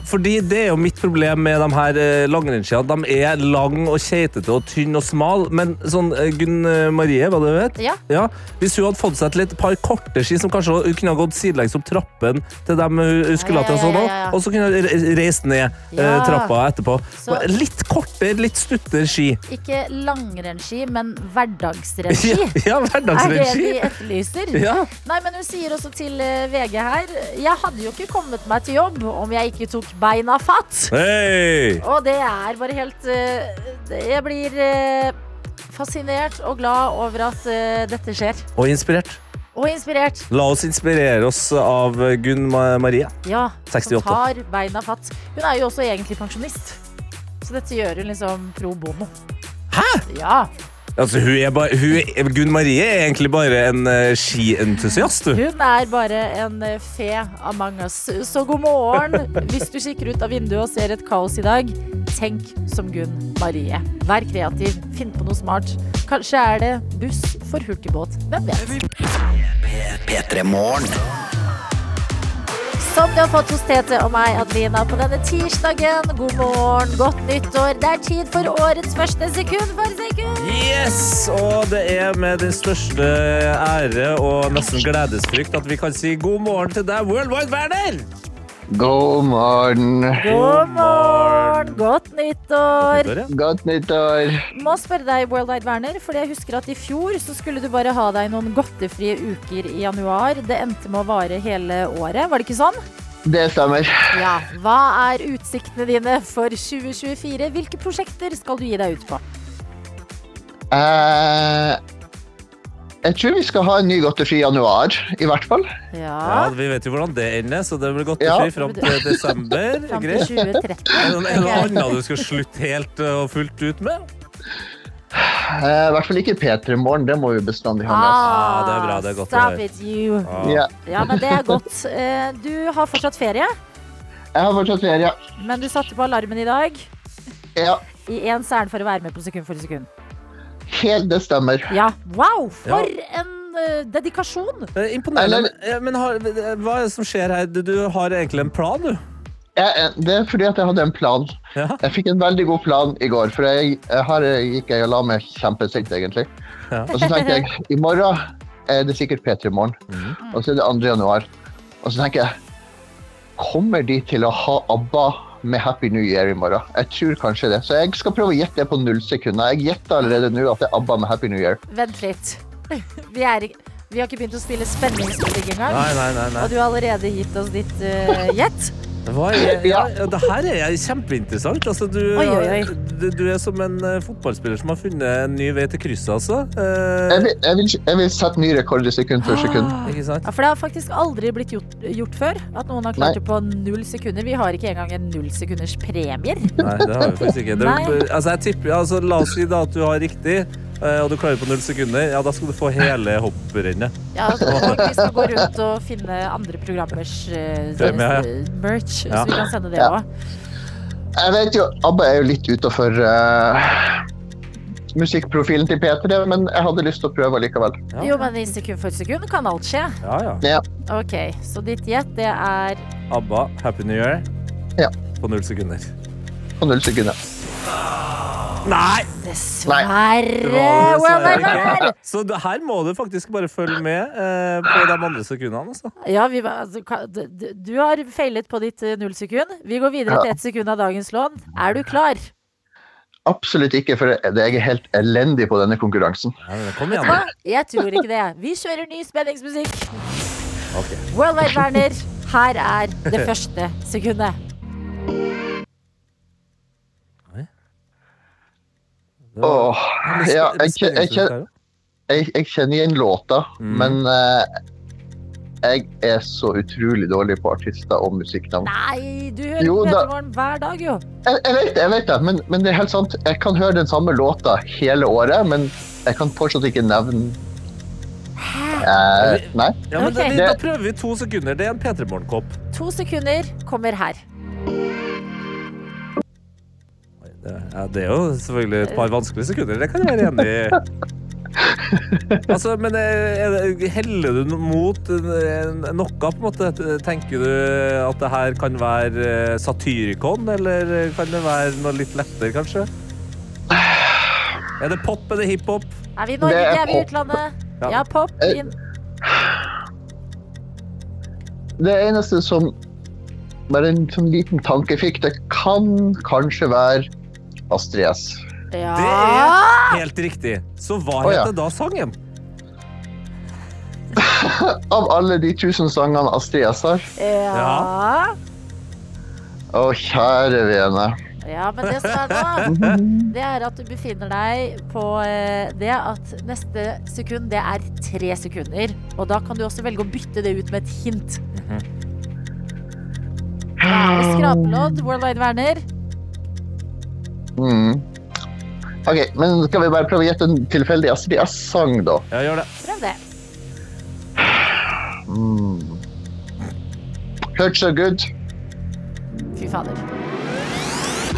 Speaker 4: Fordi det er jo mitt problem med de her eh, langrennsskia. De er lang og keitete og tynn og smal, men sånn eh, Gunn eh, Marie, hva det vet?
Speaker 3: Ja.
Speaker 4: Hvis hun hadde fått seg til et par korte ski som kanskje hun kunne ha gått sidelengs opp trappen til dem hun hun skulle ha til,
Speaker 3: Ja, ja,
Speaker 4: og sånn
Speaker 3: ja, ja,
Speaker 4: også,
Speaker 3: ja.
Speaker 4: og så kunne hun re- reist ned eh,
Speaker 3: Ja.
Speaker 4: trappa etterpå.
Speaker 3: Så-
Speaker 4: Litt kortere, litt stuttere ski.
Speaker 3: Ikke langrennsski, men hverdagsrennsski.
Speaker 4: Ja,
Speaker 3: Er det de
Speaker 4: hverdagsrennsski.
Speaker 3: etterlyser?
Speaker 4: Ja.
Speaker 3: Nei, men hun sier også til eh, VG her Jeg hadde jo ikke kommet meg til jobb om jeg ikke tok beina fatt.
Speaker 4: Hei!
Speaker 3: Og det er bare helt eh, det- Jeg blir eh, fascinert og glad over at eh, dette skjer.
Speaker 4: Og inspirert.
Speaker 3: Og inspirert.
Speaker 4: La oss inspirere oss av Gunn Ma- Marie.
Speaker 3: Ja.
Speaker 4: 68.
Speaker 3: Som tar beina fatt. Hun er jo også egentlig pensjonist. Så dette gjør hun liksom pro bono. Ja,
Speaker 4: Altså, hun er bare, hun er, Gunn Marie er egentlig bare en eh, skientusiast, du.
Speaker 3: Hun er bare en eh, fe among us. Så god morgen. Hvis du kikker ut av vinduet og ser et kaos i dag, tenk som Gunn Marie. Vær kreativ, finn på noe smart. Kanskje er det buss for hurtigbåt. Hvem vet?
Speaker 1: P3 Morgen.
Speaker 3: Som du har fått hos Tete og meg, Adelina, på denne tirsdagen. God morgen, godt nyttår. Det er tid for årets første sekund for sekund.
Speaker 4: Yes! Og det er med den største ære og nesten gledesfrykt at vi kan si god morgen til deg, World Wide Werner!
Speaker 7: God morgen.
Speaker 3: God morgen, godt nyttår.
Speaker 7: Godt nyttår.
Speaker 3: Må spørre deg, World Wide Werner, fordi jeg husker at i fjor så skulle du bare ha deg noen godtefrie uker i januar. Det endte med å vare hele året, var det ikke sånn?
Speaker 7: Det stemmer.
Speaker 3: Ja. Hva er utsiktene dine for 2024? Hvilke prosjekter skal du gi deg ut på?
Speaker 7: Eh, jeg tror vi skal ha en ny godtefri januar, i hvert fall.
Speaker 4: Ja,
Speaker 3: Ja,
Speaker 4: Vi vet jo hvordan det ender, så det blir godt å
Speaker 7: Ja.
Speaker 4: si fram til desember.
Speaker 3: fram til
Speaker 4: Greit.
Speaker 3: 2030.
Speaker 4: Er det noe er det noe annet du skal slutte helt uh, og fullt ut med?
Speaker 7: Eh, I hvert fall ikke P3 Morgen, det må vi bestandig ha med oss.
Speaker 4: Ah, det er bra, det er godt å
Speaker 3: Stop
Speaker 4: høre.
Speaker 3: it, you.
Speaker 4: Ah.
Speaker 7: Ja.
Speaker 3: Ja, men det er godt. Eh, Du har fortsatt ferie,
Speaker 7: Jeg har fortsatt ferie.
Speaker 3: men du satte på alarmen i dag.
Speaker 7: Ja,
Speaker 3: I én særn for å være med på sekund for sekund.
Speaker 7: helt det stemmer.
Speaker 3: Ja, wow! For
Speaker 4: Ja.
Speaker 3: en eh, dedikasjon!
Speaker 4: Det er Imponerende. Men, eh, men har, hva er det som skjer her? Du, du har egentlig en plan, du.
Speaker 7: Jeg, det er fordi at jeg hadde en plan.
Speaker 4: Ja.
Speaker 7: Jeg fikk en veldig god plan i går, for jeg, jeg, har, jeg gikk jeg og la meg kjempesint, egentlig.
Speaker 4: Ja.
Speaker 7: Og så tenkte jeg, i morgen er det sikkert P3 Morgen, og så er det 2. januar. Og så tenker jeg, kommer de til å ha ABBA med Happy New Year i morgen? Jeg tror kanskje det. Så jeg skal prøve å gjette det på null sekunder. Jeg gjetter allerede nå at det er ABBA med Happy New Year.
Speaker 3: Vent litt. Vi, er, ikke- vi har ikke begynt å spille spenningsmusikk engang.
Speaker 4: Nei, nei, nei. nei.
Speaker 3: Og du har allerede gitt oss ditt eh, gjett.
Speaker 4: Hva er, ja,
Speaker 7: Ja.
Speaker 4: det her er kjempeinteressant. Altså, du,
Speaker 3: Oi, oi, oi.
Speaker 4: Du, du er som en eh, fotballspiller som har funnet en ny vei til krysset, altså. Eh,
Speaker 7: Jeg vil, jeg vil, jeg vil sette ny rekord i sekund for sekund.
Speaker 4: ikke sant?
Speaker 3: Ja, for det har faktisk aldri blitt gjort, gjort før at noen har klart
Speaker 7: Nei.
Speaker 3: det på null sekunder. Vi har ikke engang en nullsekunders premier.
Speaker 4: Nei, det har vi faktisk ikke. Det,
Speaker 3: Nei.
Speaker 4: altså, jeg tipper, altså, la oss si da at du har riktig, eh, og du klarer på null sekunder. Ja, da skal du få hele hopprennet.
Speaker 3: Ja, og vi skal gå rundt og finne andre programmers eh,
Speaker 4: Premie, ja.
Speaker 3: merch,
Speaker 4: Ja.
Speaker 3: så vi kan sende det
Speaker 7: Ja.
Speaker 3: òg.
Speaker 7: Jeg vet jo, ABBA er jo litt utenfor eh, musikkprofilen til P3, men jeg hadde lyst til å prøve likevel.
Speaker 4: Ja.
Speaker 3: Jo, men i sekund for sekund kan alt skje.
Speaker 4: Ja, ja.
Speaker 7: Ja,
Speaker 3: Ok, Så ditt gjett, det er
Speaker 4: ABBA, Happy New Year.
Speaker 7: Ja.
Speaker 4: På null sekunder.
Speaker 7: på null sekunder.
Speaker 4: Nei! det
Speaker 3: dessverre
Speaker 4: var det
Speaker 3: World
Speaker 4: dessverre
Speaker 3: Wide Web.
Speaker 4: ikke. Så det, her må du faktisk bare følge med eh, på de andre sekundene, altså.
Speaker 3: Ja, vi, var- altså, ka- d- d- du har feilet på ditt eh, null sekund. Vi går videre
Speaker 7: Ja.
Speaker 3: til ett sekund av dagens lån. Er du klar?
Speaker 7: Absolutt ikke, for jeg jeg er helt elendig på denne konkurransen.
Speaker 4: Ja, men kom igjen,
Speaker 3: Hva?
Speaker 4: da.
Speaker 3: Jeg tror ikke det. Vi kjører ny spenningsmusikk. World Wide Werner, her er det første sekundet.
Speaker 4: Det var-
Speaker 7: Åh, ja, jeg, kje- jeg, kje- jeg, jeg kjenner igjen låta, men eh, jeg er så utrolig dårlig på artister og musikknavn.
Speaker 3: Nei, du hører
Speaker 7: Jo
Speaker 3: på
Speaker 7: da.
Speaker 3: Petermorgen hver dag, jo.
Speaker 7: Jeg, jeg vet det, jeg vet det, men, men det er helt sant. Jeg kan høre den samme låta hele året, men jeg kan fortsatt ikke nevne eh, Nei.
Speaker 4: Ja, men
Speaker 3: Ok.
Speaker 4: da, da prøver vi to sekunder. Det er en P3 Morgen-kopp.
Speaker 3: To sekunder kommer her.
Speaker 4: Ja, det er jo selvfølgelig et par vanskelige sekunder. Det kan jeg være enig i. Altså, men eh, er det- heller du no- mot en- en- noe, på en måte? Tenker du at det her kan være eh, Satyricon, eller kan det være noe litt lettere, kanskje? Er det pop, er det hiphop?
Speaker 3: Er vi i Norge?
Speaker 7: Det er
Speaker 3: Er vi i
Speaker 7: pop. Eh,
Speaker 3: utlandet?
Speaker 4: Ja.
Speaker 3: Ja, pop. Inn.
Speaker 7: Det eneste som bare en sånn liten tanke fikk, det kan kanskje være Astrid S.
Speaker 4: Det
Speaker 3: Ja.
Speaker 4: er helt riktig. Så hva
Speaker 7: Å, ja.
Speaker 4: heter da sangen?
Speaker 7: Av alle de tusen sangene Astrid S har.
Speaker 3: ja.
Speaker 7: Å, kjære vene.
Speaker 3: Ja, men det som er nå, det er at du befinner deg på eh, det at neste sekund, det er tre sekunder. Og da kan du også velge å bytte det ut med et hint. Da er det skrapelodd, World Wide Werner.
Speaker 7: Mm. Ok, men skal vi bare prøve å gjette en tilfeldig Astrid S-sang, da?
Speaker 4: Ja, gjør det.
Speaker 3: Prøv det.
Speaker 7: Hurt so Mm. good.
Speaker 3: Fy fader.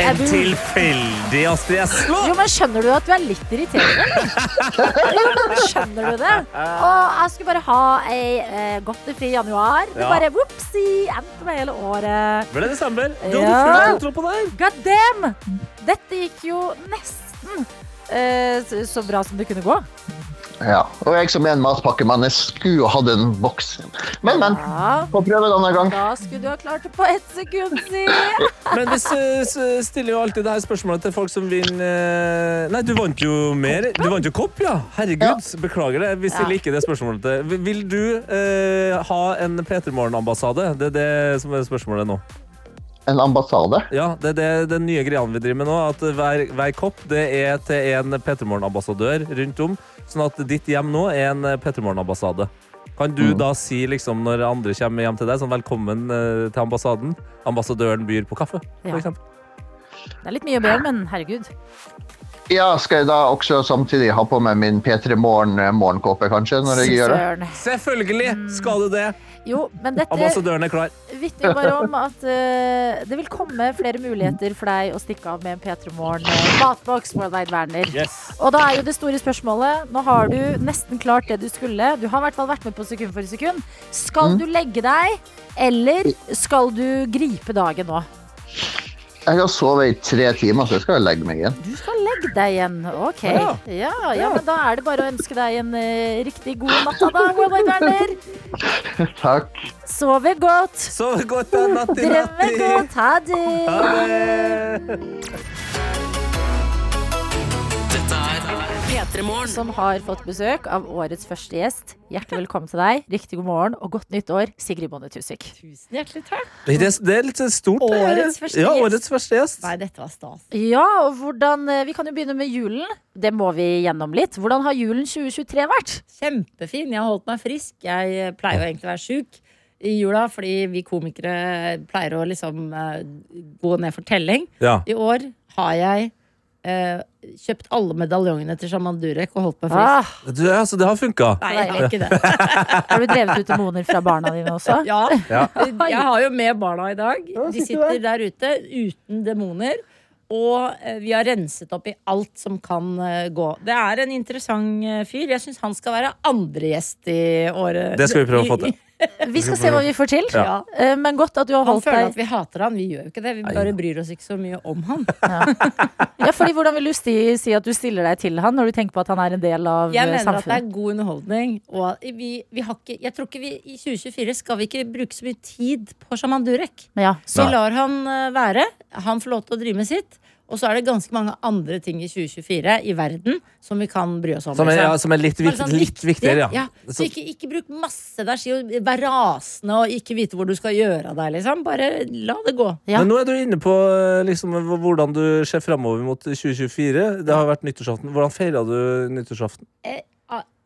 Speaker 3: Er
Speaker 4: En
Speaker 3: du-
Speaker 4: tilfeldig Astrid
Speaker 3: Jo,
Speaker 4: S.
Speaker 3: men skjønner du at du er litt irriterende? eller? skjønner du det? Og jeg skulle bare ha ei eh, godt og fri januar. Det
Speaker 4: Ja.
Speaker 3: bare whoopsi, endte meg hele året.
Speaker 4: Ble det desember? Du hadde
Speaker 3: Ja.
Speaker 4: full kontroll på det her.
Speaker 3: God damn! Dette gikk jo nesten eh, så- så bra som det kunne gå.
Speaker 7: Ja. Og jeg som er en matpakkemann, jeg skulle jo hatt en boks. Men, men.
Speaker 3: Ja,
Speaker 7: Få prøve en annen gang.
Speaker 3: da skulle du ha klart det på ett sekund, si!
Speaker 4: Men vi s- s- stiller jo alltid det her spørsmålet til folk som vinner eh, Nei, du vant jo mer. Du vant jo kopp, ja. Herregud. Beklager det. Vi stiller
Speaker 3: Ja.
Speaker 4: ikke det spørsmålet til Vil- Vil du eh, ha en P3 Morgen-ambassade? Det er det som er spørsmålet nå.
Speaker 7: En ambassade.
Speaker 4: Ja, det er det, den nye greia vi driver med nå. At hver, hver kopp det er til en P3 Morgen-ambassadør rundt om. Sånn at ditt hjem nå er en P3 Morgen-ambassade. Kan du da si liksom når andre kommer hjem til deg, sånn velkommen eh, til ambassaden? Ambassadøren byr på kaffe,
Speaker 3: Ja.
Speaker 4: for eksempel.
Speaker 3: Det er litt mye å be om, men herregud.
Speaker 7: Ja, skal jeg da også samtidig ha på meg min P3 Morgen eh, morgenkåpe, kanskje, når jeg gjør det?
Speaker 3: Søren.
Speaker 4: Selvfølgelig
Speaker 8: Mm.
Speaker 4: skal du det!
Speaker 3: Jo, men dette
Speaker 4: Ambassadøren er klar.
Speaker 3: vitner jo bare om at eh, det vil komme flere muligheter for deg å stikke av med en P3 Morgen eh, matboks Worldwide Werner. Og da er jo det store spørsmålet Nå har du nesten klart det du skulle. Du har i hvert fall vært med på sekund for sekund. Skal du legge deg, eller skal du gripe dagen nå?
Speaker 7: Jeg har sovet i tre timer, så jeg skal jo legge meg igjen.
Speaker 3: Du skal legge deg igjen. OK. Ja,
Speaker 4: Ja.
Speaker 3: ja, men da er det bare å ønske deg en eh, riktig god natt, da, Worldwide Werner.
Speaker 7: Takk.
Speaker 3: Sove godt.
Speaker 4: Sov godt da, natti,
Speaker 3: Drømme
Speaker 4: natti.
Speaker 3: godt. Ha det.
Speaker 4: Ha det!
Speaker 2: P3 Morgen.
Speaker 3: som har fått besøk av årets første gjest. Hjertelig velkommen til deg. Riktig god morgen og godt nytt år, Sigrid Bonde Tusvik.
Speaker 8: Tusen hjertelig takk.
Speaker 4: Det er, det er litt stort. det.
Speaker 8: Årets første
Speaker 4: ja,
Speaker 8: gjest.
Speaker 4: årets første gjest.
Speaker 8: Nei, dette var stas.
Speaker 3: Ja, og hvordan eh, Vi kan jo begynne med julen. Det må vi gjennom litt. Hvordan har julen 2023 vært?
Speaker 8: Kjempefin. Jeg har holdt meg frisk. Jeg eh, pleier jo egentlig å være sjuk i jula, fordi vi komikere pleier å liksom eh, gå ned for telling.
Speaker 4: Ja.
Speaker 8: I år har jeg eh, kjøpt alle medaljongene til Shaman Durek og holdt meg frisk.
Speaker 3: Ah,
Speaker 4: Du, altså, det har funka.
Speaker 8: Nei, jeg har ikke det.
Speaker 3: har du drevet ut demoner fra barna dine også?
Speaker 8: Ja.
Speaker 4: Ja.
Speaker 8: Jeg har jo med barna i dag. De sitter der ute uten demoner. Og eh, vi har renset opp i alt som kan eh, gå. Det er en interessant eh, fyr. Jeg syns han skal være andre gjest i året.
Speaker 4: Det skal vi prøve å få til.
Speaker 3: Vi skal se hva vi får til.
Speaker 8: Ja.
Speaker 3: Eh, Men godt at du har
Speaker 8: Han
Speaker 3: holdt
Speaker 8: føler at
Speaker 3: deg
Speaker 8: vi hater han. Vi gjør jo ikke det. Vi bare bryr oss ikke så mye om han.
Speaker 3: Ja, fordi Hvordan vil du si, si at du stiller deg til han når du tenker på at han er en del av
Speaker 8: Jeg
Speaker 3: eh,
Speaker 8: mener at det
Speaker 3: samfunnet?
Speaker 8: er god underholdning. Og at vi, vi har ikke, jeg tror ikke vi i 2024 skal vi ikke bruke så mye tid på Shaman Durek.
Speaker 3: Ja.
Speaker 8: Så
Speaker 4: Nei.
Speaker 8: lar han eh, være. Han får lov til å drive med sitt. Og så er det ganske mange andre ting i 2024 i verden som vi kan bry oss om.
Speaker 4: Som er,
Speaker 8: liksom.
Speaker 4: ja, som er litt,
Speaker 8: Bare
Speaker 4: vikt,
Speaker 8: sånn
Speaker 4: litt
Speaker 8: viktig-
Speaker 4: viktigere, ja.
Speaker 8: ja. Så ikke, ikke bruk masse energi og vær rasende og ikke vite hvor du skal gjøre av deg, liksom. Bare la det gå.
Speaker 3: Ja.
Speaker 4: Men nå er du inne på eh, liksom, hvordan du ser framover mot 2024. Det har vært nyttårsaften. Hvordan feira du nyttårsaften?
Speaker 8: Eh,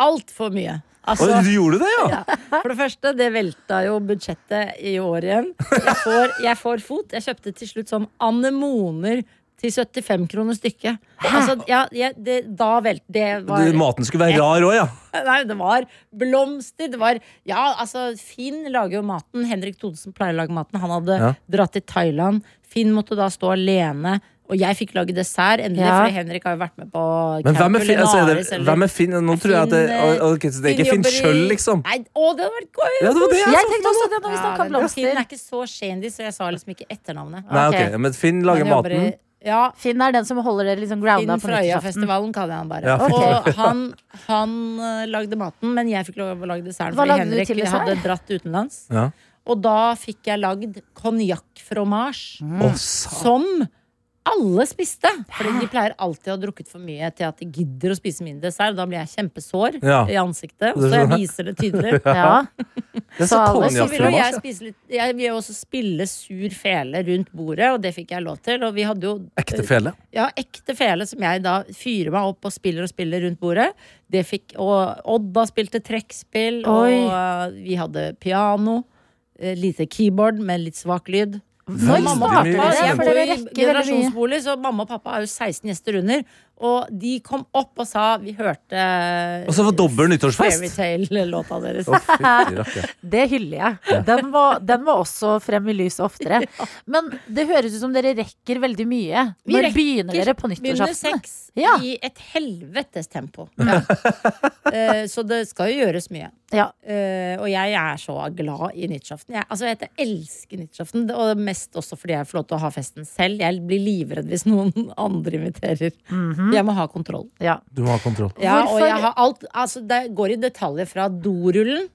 Speaker 8: Altfor mye. Altså,
Speaker 4: Å, du gjorde det, ja!
Speaker 8: For det første, det velta jo budsjettet i år igjen. Jeg får, jeg får fot. Jeg kjøpte til slutt sånn anemoner til 75 kroner stykket. Altså, ja, jeg, det, da velt, det var
Speaker 4: Du, maten skulle være rar òg, ja.
Speaker 8: Eh, Nei, det var blomster. Det var Ja, altså, Finn lager jo maten. Henrik Thodesen pleier å lage maten. Han hadde
Speaker 4: Ja.
Speaker 8: dratt til Thailand. Finn måtte da stå alene. Og jeg fikk lage dessert, endelig,
Speaker 3: Ja.
Speaker 8: for Henrik har jo vært med på
Speaker 4: Men hvem er Finn? Altså, er
Speaker 8: Culinaris,
Speaker 4: det,
Speaker 8: eller-
Speaker 4: hvem er Finn? Nå tror jeg at det,
Speaker 8: Finn, eh,
Speaker 4: ok, så det er ikke Finn
Speaker 8: jobber i-
Speaker 4: sjøl, liksom.
Speaker 8: Nei, å, det hadde vært gøy! Altså,
Speaker 4: Ja, det var det jeg
Speaker 3: Jeg
Speaker 4: så for
Speaker 3: tenkte
Speaker 4: meg
Speaker 3: også
Speaker 4: nå.
Speaker 3: det når vi
Speaker 8: Ja,
Speaker 3: snakka om
Speaker 8: men Finn
Speaker 3: blomster.
Speaker 8: er ikke så shandy, så jeg sa liksom ikke etternavnet.
Speaker 4: Nei,
Speaker 3: Ok.
Speaker 4: ok, Men Finn lager
Speaker 8: Han jobber
Speaker 4: maten.
Speaker 8: i- Ja,
Speaker 3: Finn er den som holder det liksom grounda
Speaker 8: Finn
Speaker 3: på
Speaker 8: fra
Speaker 3: nyttårsaften.
Speaker 8: Øyafestivalen kaller jeg han bare.
Speaker 4: Ja,
Speaker 8: Og han, han eh, lagde maten, men jeg fikk lov å lage desserten
Speaker 3: Hva
Speaker 8: fordi
Speaker 3: lagde du
Speaker 8: Henrik
Speaker 3: til dessert?
Speaker 8: hadde dratt utenlands.
Speaker 4: Ja.
Speaker 8: Og da fikk jeg lagd konjakk-fromasj,
Speaker 3: Mm.
Speaker 4: Å, sa-
Speaker 8: som alle spiste. Fordi de pleier alltid å ha drukket for mye til at de gidder å spise min dessert. Da blir jeg kjempesår
Speaker 4: Ja.
Speaker 8: i ansiktet, så jeg viser det tydelig.
Speaker 3: Ja.
Speaker 4: Det er så
Speaker 3: Så alle
Speaker 8: Og så ville jo
Speaker 4: konjakkfromasj.
Speaker 8: jeg spise litt Jeg vil jo også spille sur fele rundt bordet, og det fikk jeg lov til. Og vi hadde jo
Speaker 4: Ekte fele.
Speaker 8: ja, ekte fele som jeg da fyrer meg opp og spiller og spiller rundt bordet. Det fikk, og Odda spilte trekkspill,
Speaker 3: Oi.
Speaker 8: og eh, vi hadde piano. eh, Lite keyboard med litt svak lyd.
Speaker 3: Når
Speaker 4: Veldig
Speaker 3: starter
Speaker 4: mye
Speaker 3: det?
Speaker 8: Ja, jeg
Speaker 4: kjempe-
Speaker 3: For
Speaker 8: bor
Speaker 3: det
Speaker 8: i
Speaker 3: rekker veldig mye.
Speaker 8: generasjonsbolig, så mamma og pappa er jo 16 gjester under. Og de kom opp og sa Vi hørte
Speaker 4: Og så var dobbel nyttårsfest!
Speaker 8: Fairytale-låta deres.
Speaker 4: Å, fytti rakker.
Speaker 3: Det hyller jeg. Den må, den må også frem i lyset oftere. Men det høres ut som dere rekker veldig mye.
Speaker 8: Vi
Speaker 3: Når
Speaker 8: rekker-
Speaker 3: begynner dere på
Speaker 8: Begynner
Speaker 3: nyttårsaften?
Speaker 8: sex
Speaker 3: Ja.
Speaker 8: i et helvetes tempo. Eh, Så det skal jo gjøres mye.
Speaker 3: Ja.
Speaker 8: Eh, og jeg er så glad i nyttårsaften. Jeg, altså, jeg elsker nyttårsaften, og mest også fordi jeg får lov til å ha festen selv. Jeg blir livredd hvis noen andre inviterer. Jeg må ha kontroll.
Speaker 3: ja.
Speaker 4: Du må ha kontroll.
Speaker 8: Ja, og
Speaker 3: Hvorfor-
Speaker 8: jeg har alt, altså, det går i detaljer fra dorullen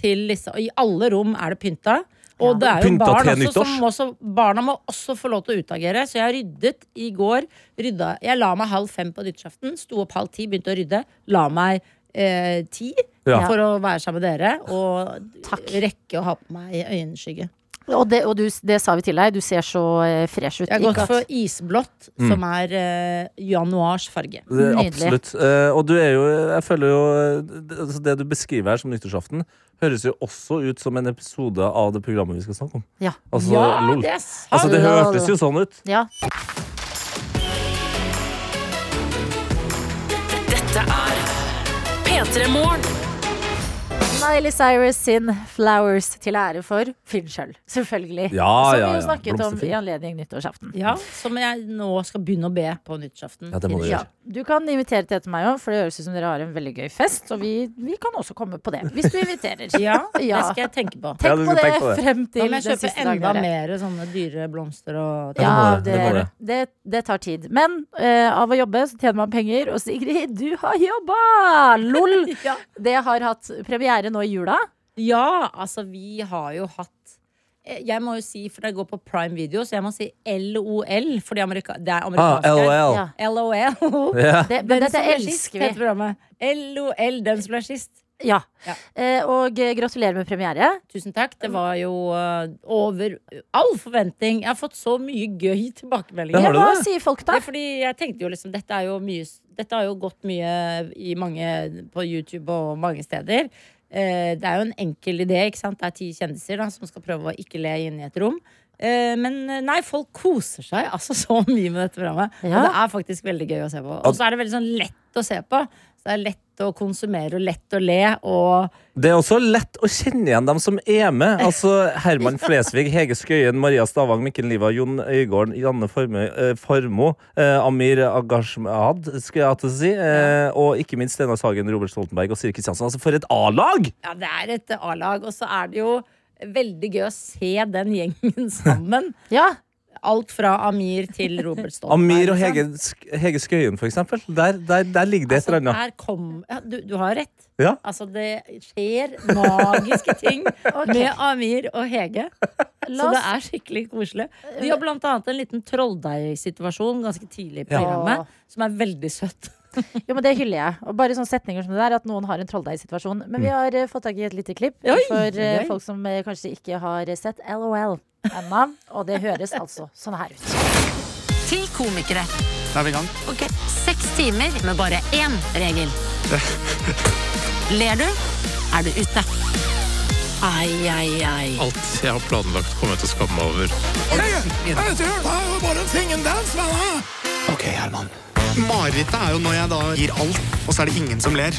Speaker 8: til liksom Og i alle rom er det pynta. Og det er jo
Speaker 4: Pynta
Speaker 8: barn
Speaker 4: til
Speaker 8: også, som
Speaker 4: nyttårs.
Speaker 8: må også, barna må også få lov til å utagere. Så jeg ryddet i går. Rydda, jeg la meg halv fem på nyttårsaften. Sto opp halv ti, begynte å rydde. La meg eh, ti
Speaker 4: Ja.
Speaker 8: for å være sammen med dere. Og
Speaker 3: Takk.
Speaker 8: rekke å ha på meg øyenskygge.
Speaker 3: Og, det, og du, det sa vi til deg, du ser så eh, fresh ut.
Speaker 8: Jeg har gått
Speaker 3: Ikke at-
Speaker 8: for isblått, som
Speaker 4: Mm.
Speaker 8: er eh, januars farge.
Speaker 4: Det, er
Speaker 3: Nydelig.
Speaker 4: absolutt. Eh, og du er jo Jeg føler jo eh, det, altså det du beskriver her som nyttårsaften, høres jo også ut som en episode av det programmet vi skal snakke om.
Speaker 3: Ja.
Speaker 4: Altså,
Speaker 8: ja,
Speaker 4: lol.
Speaker 8: det er sant!
Speaker 4: Altså, det
Speaker 3: Hallo.
Speaker 4: hørtes jo sånn ut.
Speaker 3: ja.
Speaker 2: Dette er P3 Morgen.
Speaker 3: Miley Cyrus sin 'Flowers' til ære for Finn sjøl, selvfølgelig.
Speaker 4: Ja,
Speaker 3: Som
Speaker 4: ja,
Speaker 3: vi
Speaker 4: ja.
Speaker 3: jo snakket om
Speaker 4: Blomsterfinn.
Speaker 3: i anledning nyttårsaften.
Speaker 8: Ja, som jeg nå skal begynne å be på nyttårsaften.
Speaker 4: Ja, det må du
Speaker 3: Ja,
Speaker 4: gjøre.
Speaker 3: du kan invitere til etter meg òg, for det høres ut som dere har en veldig gøy fest. Og vi, vi kan også komme på det, hvis du inviterer.
Speaker 8: Ja, det
Speaker 3: Ja.
Speaker 8: skal jeg tenke på.
Speaker 4: Ja,
Speaker 3: Tenk
Speaker 4: du
Speaker 3: på
Speaker 4: skal
Speaker 3: det
Speaker 4: tenke på det.
Speaker 3: frem
Speaker 8: Nå
Speaker 3: til
Speaker 8: må
Speaker 3: den
Speaker 8: jeg kjøpe
Speaker 3: siste dagen.
Speaker 8: enda
Speaker 3: dere.
Speaker 8: mer sånne dyre blomster og
Speaker 4: Ja, det
Speaker 3: Ja,
Speaker 4: må det,
Speaker 3: det,
Speaker 4: det må det.
Speaker 3: det, det tar tid. Men eh, av å jobbe så tjener man penger, og Sigrid, du har jobba! Lol!
Speaker 8: Ja.
Speaker 3: Det har hatt premiere nå i jula.
Speaker 8: Ja, altså vi har jo hatt eh, Jeg må jo si, for det går på prime video, så jeg må si LOL, for det er
Speaker 4: Ah,
Speaker 8: amerikansk.
Speaker 4: LOL.
Speaker 3: Ja.
Speaker 8: LOL.
Speaker 4: Ja.
Speaker 3: Det, men
Speaker 8: Den
Speaker 3: dette
Speaker 8: som ble sist,
Speaker 3: elsker vi.
Speaker 8: heter programmet. LOL, den som ble sist.
Speaker 3: Ja.
Speaker 8: Ja.
Speaker 3: Eh, og eh, gratulerer med premiere.
Speaker 8: Tusen takk. Det var jo eh, over all forventning. Jeg har fått så mye gøy
Speaker 4: Ja,
Speaker 8: tilbakemeldinger.
Speaker 4: har du
Speaker 3: Hva
Speaker 4: det?
Speaker 3: sier folk,
Speaker 8: Ja,
Speaker 3: da?
Speaker 8: fordi jeg tenkte jo liksom Dette er jo mye Dette har jo gått mye i mange På YouTube og mange steder eh, Det er jo en enkel idé, ikke sant? Det er ti kjendiser da Som skal prøve å ikke le inn i et rom eh, Men eh, nei, folk koser seg Altså så mye med dette programmet Og
Speaker 3: Ja.
Speaker 8: det er faktisk veldig gøy å se på Og så er det veldig sånn lett å se på Så det er lett å konsumere og lett å le Og
Speaker 4: Det er også lett å kjenne igjen dem som er med. Altså Herman Flesvig, Hege Skøyen, Maria Stavang, Mikkel Liva, Jon Øygården, Janne Formo, eh, Formo eh, Amir Agashmad, skal jeg til å si. Eh, og ikke minst Steinar Sagen, Robert Stoltenberg og Siri Kristiansen. Altså, for et A-lag!
Speaker 8: ja, det er et A-lag Og så er det jo veldig gøy å se den gjengen sammen
Speaker 3: Ja.
Speaker 8: Alt fra Amir til Robert Stoltenberg
Speaker 4: Amir og
Speaker 8: ikke sant?
Speaker 4: Hege, Sk- Hege Skøyen, for eksempel. Der, der, der ligger det et eller annet.
Speaker 8: her kom, ja, du, du har rett.
Speaker 4: Ja.
Speaker 8: Altså, det skjer magiske ting med Amir og Hege.
Speaker 3: La
Speaker 8: Så det
Speaker 3: oss-
Speaker 8: er skikkelig koselig. Vi har blant annet en liten trolldeigsituasjon ganske tidlig i
Speaker 4: Ja.
Speaker 8: programmet, som er veldig søtt.
Speaker 3: Jo, men Det hyller jeg. Og bare sånne setninger som det der, at noen har en trolldeigsituasjon. Men
Speaker 4: Mm.
Speaker 3: vi har eh, fått tak i et lite klipp
Speaker 8: Oi,
Speaker 3: for eh,
Speaker 8: gøy.
Speaker 3: folk som eh, kanskje ikke har eh, sett LOL ennå. Og det høres altså sånn her ut.
Speaker 9: Til komikere. Ok, Seks timer med bare én regel. Ler du, er du ute. Ai, ai, ai.
Speaker 10: Alt jeg har planlagt kommer jeg til å skamme meg over.
Speaker 11: Ok, Herman. Marerittet er jo når jeg da gir alt, og så er det ingen som ler.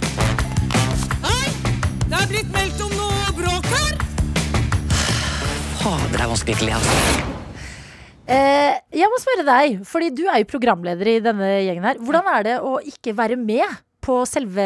Speaker 9: Fader, det er vanskelig ikke å le. altså.
Speaker 3: Eh, jeg må spørre deg, fordi du er jo programleder i denne gjengen her. Hvordan er det å ikke være med på selve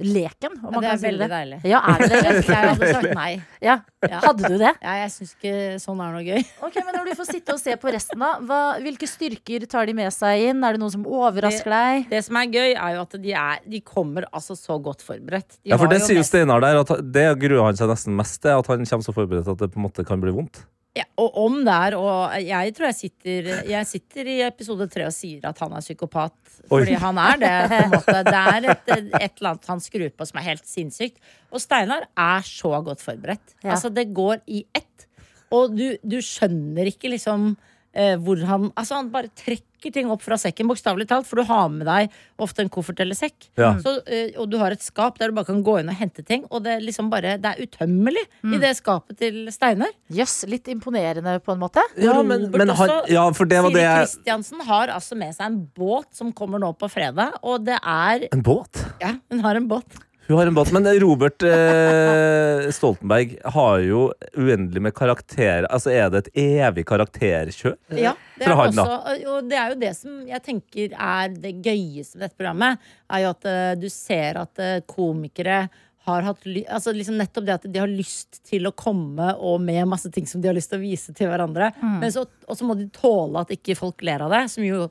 Speaker 3: leken? Om man
Speaker 8: det
Speaker 3: kan
Speaker 8: er
Speaker 3: si
Speaker 8: veldig deilig.
Speaker 3: Ja, er det det?
Speaker 8: Jeg hadde sagt nei.
Speaker 3: Ja.
Speaker 8: Ja.
Speaker 3: Hadde du det?
Speaker 8: Ja, jeg syns ikke sånn er noe gøy.
Speaker 3: Ok, men Når du får sitte og se på resten, da. Hva, hvilke styrker tar de med seg inn? Er det noen som overrasker deg?
Speaker 8: Det som er gøy, er jo at de, er, de kommer altså så godt forberedt. De
Speaker 4: Ja, for
Speaker 8: har
Speaker 4: det
Speaker 8: jo
Speaker 4: sier jo
Speaker 8: mest-
Speaker 4: Steinar der, at han- det gruer han seg nesten mest til. At han kommer så forberedt at det på en måte kan bli vondt.
Speaker 8: Ja, og om det er, og jeg tror jeg sitter, jeg sitter i episode tre og sier at han er psykopat.
Speaker 4: Oi.
Speaker 8: Fordi han er det, på en måte. Det er et, et eller annet han skrur på som er helt sinnssykt. Og Steinar er så godt forberedt.
Speaker 3: Ja.
Speaker 8: Altså, det går i ett. Og du, du skjønner ikke liksom eh, hvor han Altså, han bare trekker ting opp fra sekken, bokstavelig talt, for du har med deg ofte en koffert eller sekk.
Speaker 12: Ja.
Speaker 8: Så, eh, og du har et skap der du bare kan gå inn og hente ting, og det er liksom bare Det er utømmelig i det skapet til Steinar.
Speaker 3: Jøss, litt imponerende på en måte.
Speaker 4: Ja, men, men
Speaker 8: Robert
Speaker 4: han,
Speaker 8: også,
Speaker 4: ja, for det var
Speaker 8: Siri
Speaker 4: det jeg
Speaker 8: Kristiansen har altså med seg en båt som kommer nå på fredag, og det er
Speaker 4: En båt?
Speaker 8: Ja, hun har en båt.
Speaker 4: Hun har en båt, men Robert eh, Stoltenberg har jo uendelig med karakterer. Altså, er det et evig karakterkjør?
Speaker 8: Ja, det er,
Speaker 4: Fra han, da.
Speaker 8: også, og det er jo det som jeg tenker er det gøyeste med dette programmet, er jo at eh, du ser at eh, komikere har hatt ly altså liksom nettopp det at de har lyst til å komme og med masse ting som de har lyst til å vise til hverandre.
Speaker 12: Mm.
Speaker 8: Men så, og så må de tåle at ikke folk ler av det, som jo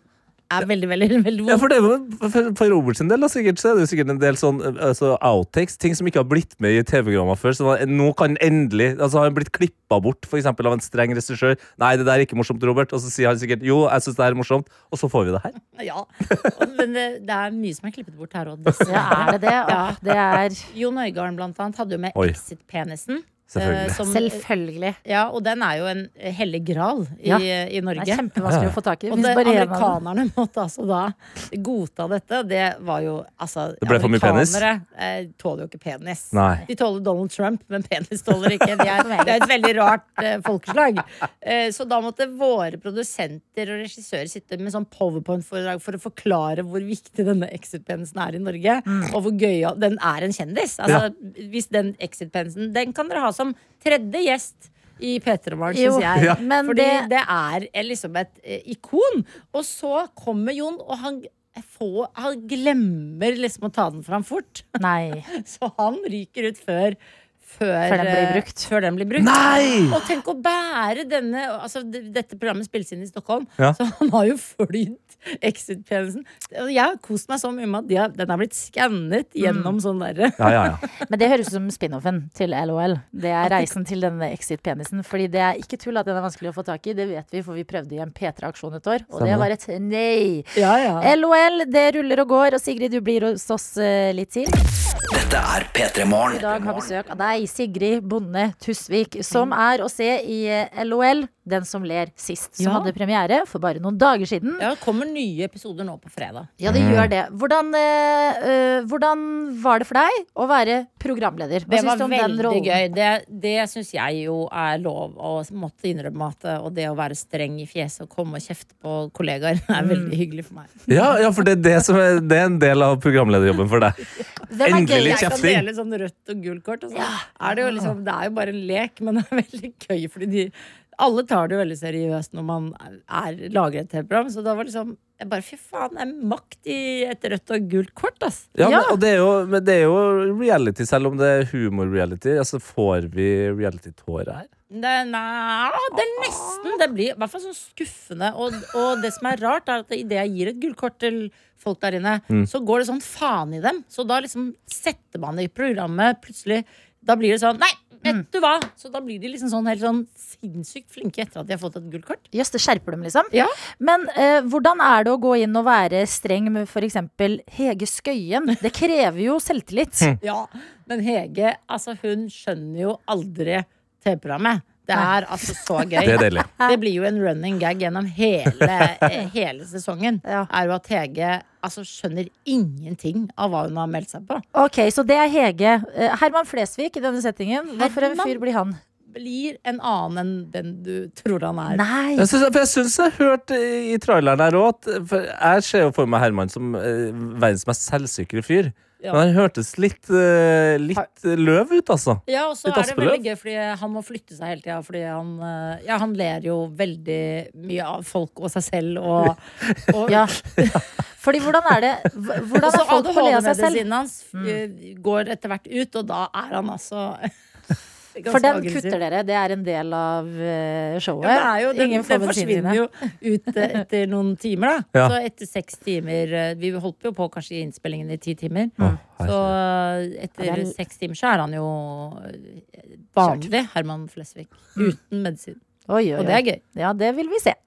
Speaker 8: er veldig, veldig, veldig
Speaker 4: Ja, for, det, var- for, for Robert sin del da, sikkert, så er det jo sikkert en del sånn eh, altså, outtakes, ting som ikke har blitt med i TV-programmer før. Så da- nå kan han endelig altså, Har han blitt klippa bort for eksempel, av en streng regissør? Nei, det der er ikke morsomt, Robert. Og så sier han sikkert jo, jeg syns det her er morsomt, og så får vi det her.
Speaker 8: Ja, og- men det, det er mye som er klippet bort her òg. dessverre.
Speaker 3: Ja, er det det? Åh, det er-
Speaker 8: Jon Øigarden blant annet hadde jo med
Speaker 3: Oi.
Speaker 8: Exit-penisen.
Speaker 3: Selvfølgelig.
Speaker 8: Selvfølgelig. Ja, og den er jo en hellig gral i,
Speaker 3: Ja.
Speaker 8: i Norge.
Speaker 3: Det er kjempevanskelig å få tak i. Det
Speaker 8: Og
Speaker 3: finnes
Speaker 8: det,
Speaker 3: bare en av dem.
Speaker 8: amerikanerne måtte altså da godta dette. og Det var jo altså
Speaker 4: Det ble for mye penis?
Speaker 8: Amerikanere eh, tåler jo ikke penis.
Speaker 4: Nei.
Speaker 8: De tåler Donald Trump, men penis tåler ikke. Det er, det er et veldig rart eh, folkeslag. Eh, så da måtte våre produsenter og regissører sitte med sånn powerpoint-foredrag for å forklare hvor viktig denne exit-penisen er i Norge, og hvor gøy den er en kjendis. Altså, Hvis den exit-penisen Den kan dere ha som tredje gjest. I P3 Morgen,
Speaker 3: Jo,
Speaker 8: syns jeg.
Speaker 3: Ja. men
Speaker 8: Fordi
Speaker 3: det-
Speaker 8: det er eh, liksom et eh, ikon. Og så kommer Jon, og han, får, han glemmer liksom å ta den fram fort. Så han ryker ut før før,
Speaker 3: Før den blir
Speaker 8: eh,
Speaker 3: brukt.
Speaker 8: Før den blir brukt.
Speaker 3: Nei!
Speaker 8: Og tenk å bære denne altså, d- Dette programmet spilles inn i Stockholm,
Speaker 12: Ja.
Speaker 8: så han har jo flydd Exit-tjenesten. Og Jeg har kost meg så mye med at de har, den har blitt skannet
Speaker 3: Mm.
Speaker 8: gjennom sånn derre
Speaker 3: Men det høres ut som spin-offen til LOL. Det er reisen til denne exit-penisen. Fordi det er ikke tull at den er vanskelig å få tak i. Det vet vi, for vi prøvde i en P3-aksjon et år, og det
Speaker 12: Stemmer.
Speaker 3: var et nei.
Speaker 8: Ja,
Speaker 3: LOL, det ruller og går, og Sigrid, du blir hos oss eh, litt til.
Speaker 1: Dette er P3
Speaker 3: I
Speaker 1: Morgen.
Speaker 3: dag har besøk av deg, Sigrid Bonde Tusvik, som er å se i eh, LOL, Den som ler sist, som
Speaker 8: Ja.
Speaker 3: hadde premiere for bare noen dager siden.
Speaker 8: Ja, Mm. det kommer nye episoder nå på fredag.
Speaker 3: Ja, det gjør det. Hvordan, eh, eh, hvordan var det for deg å være programleder? Hva
Speaker 8: Det
Speaker 3: syns
Speaker 8: var
Speaker 3: du om den
Speaker 8: veldig
Speaker 3: rollen?
Speaker 8: gøy. Det, det syns jeg jo er lov å måtte innrømme at eh, Og det å være streng i fjeset og komme og kjefte på kollegaer er
Speaker 3: Mm.
Speaker 8: veldig hyggelig for meg.
Speaker 4: Ja, ja for det er, det, som er, det er en del av programlederjobben for deg. Endelig litt
Speaker 8: Jeg kan
Speaker 4: kjefting.
Speaker 8: dele sånn rødt og gult kort. Og sånn. er det, jo liksom, det er jo bare en lek, men det er veldig gøy. Fordi de, alle tar det jo veldig seriøst når man er, lager et TV-program. Så da var liksom jeg bare, Fy faen, det er makt i et rødt og gult kort, ass.
Speaker 4: Ja, men, og det er, jo, men det er jo reality, selv om det er humor-reality. Altså, får vi reality-tårer her?
Speaker 8: Det, nei, det er nesten Det blir i hvert fall sånn skuffende. Og, og det som er rart, er at idet jeg gir et gullkort til folk der inne,
Speaker 12: Mm.
Speaker 8: så går det sånn faen i dem. Så da liksom setter man det i programmet plutselig. Da blir det sånn Nei, vet du hva! Så da blir de liksom sånn helt sånn sinnssykt flinke etter at de har fått et gullkort.
Speaker 3: Jøss, det skjerper dem, liksom.
Speaker 8: Ja.
Speaker 3: Men eh, hvordan er det å gå inn og være streng med f.eks. Hege Skøyen? Det krever jo selvtillit.
Speaker 8: Ja, men Hege, altså hun skjønner jo aldri TV-programmet. Det er altså så gøy.
Speaker 12: Det er deilig.
Speaker 8: Det blir jo en running gag gjennom hele, eh, hele sesongen. Er jo at Hege altså skjønner ingenting av hva hun har meldt seg på.
Speaker 3: Ok, så det er Hege. Eh, Herman Flesvig i denne settingen. Hva for en
Speaker 8: Herman?
Speaker 3: fyr blir han?
Speaker 8: Blir en annen enn den du tror han er.
Speaker 3: Nei.
Speaker 4: Jeg syns, for jeg syns jeg hørte i traileren her òg at for Jeg ser jo for meg Herman som eh, verdens mest selvsikre fyr.
Speaker 8: Ja.
Speaker 4: Men han hørtes litt, eh, litt løv ut, altså.
Speaker 8: Ja, og så
Speaker 4: litt
Speaker 8: er det veldig gøy, fordi han må flytte seg hele tida. Fordi han, eh, ja, han ler jo veldig mye av folk og seg selv og, og
Speaker 3: Ja. Fordi hvordan er det hv- Hvordan
Speaker 8: Også
Speaker 3: er folk på å le av seg selv? Mm.
Speaker 8: ADHD-medisinen hans eh, går etter hvert ut, og da er han altså
Speaker 3: For den kutter dere. Det er en del av eh, showet.
Speaker 8: Ja, det er jo, den,
Speaker 3: Ingen får
Speaker 8: den
Speaker 3: medisinene.
Speaker 8: forsvinner jo ut eh, etter noen timer, da.
Speaker 3: Ja.
Speaker 8: Så etter seks timer eh, Vi holdt jo på kanskje i innspillingen i ti timer. så eh, etter
Speaker 3: Mm. Ja, det er-
Speaker 8: seks timer så er han jo eh, vanlig Herman Flesvig.
Speaker 3: Mm.
Speaker 8: Uten medisin.
Speaker 3: Oi, oi,
Speaker 8: Og det er
Speaker 3: oi.
Speaker 8: gøy.
Speaker 3: Ja, det vil vi se.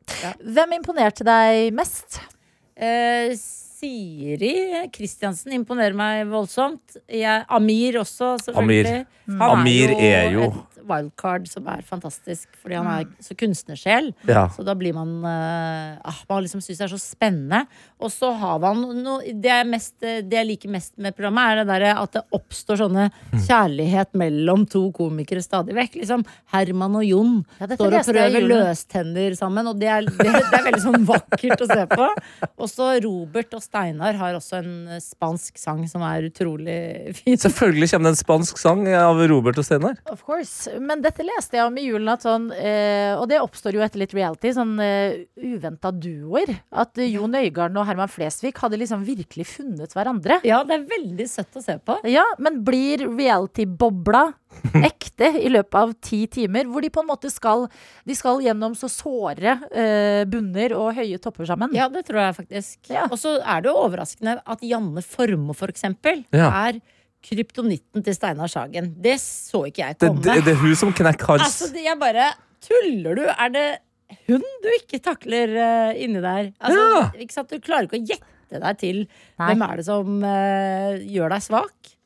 Speaker 3: Hvem imponerte deg mest?
Speaker 8: Eh, Siri Kristiansen
Speaker 3: Mm.
Speaker 8: imponerer meg voldsomt. Jeg, Amir også, selvfølgelig.
Speaker 4: Amir.
Speaker 8: Han
Speaker 4: Amir er jo
Speaker 8: et wildcard som er fantastisk, fordi han er så kunstnersjel.
Speaker 4: Ja.
Speaker 8: Så da blir man eh, ah, Man liksom syns det er så spennende. Og så har man noe det, er mest, eh, det jeg liker mest med programmet, er det derre at det oppstår sånne
Speaker 4: Mm.
Speaker 8: kjærlighet mellom to komikere stadig vekk. Liksom Herman og Jon
Speaker 3: dette
Speaker 8: står og
Speaker 3: leste jeg i
Speaker 8: prøver
Speaker 3: julen.
Speaker 8: løstenner sammen, og det er, det, det er veldig sånn vakkert å se på. Og så Robert og Steinar har også en eh, spansk sang som er utrolig fin.
Speaker 4: Selvfølgelig kommer det en spansk sang eh, av Robert og Steinar.
Speaker 3: Of course. Men dette leste jeg om i julen, at sånn, eh, og det oppstår jo etter litt reality, sånn eh, uventa duoer. At eh, Jon Øigarden og Herman Flesvig hadde liksom virkelig funnet hverandre.
Speaker 8: Ja, det er veldig søtt å se på.
Speaker 3: Ja, Men blir reality-bobla ekte i løpet av ti timer? Hvor de på en måte skal, de skal gjennom så såre eh, bunner og høye topper sammen.
Speaker 8: Ja, det tror jeg faktisk. Og så er det jo overraskende at Janne Formoe, for eksempel,
Speaker 4: Ja.
Speaker 8: er kryptonitten til Steinar Sagen. Det så ikke jeg
Speaker 4: Det,
Speaker 8: komme.
Speaker 4: det, det er hun som knekker hals.
Speaker 8: Altså, det- jeg bare Tuller du? Er det hun du ikke takler eh, inni der? Altså, ikke sant? Du klarer ikke å gjette deg til hvem er det som eh, gjør deg svak.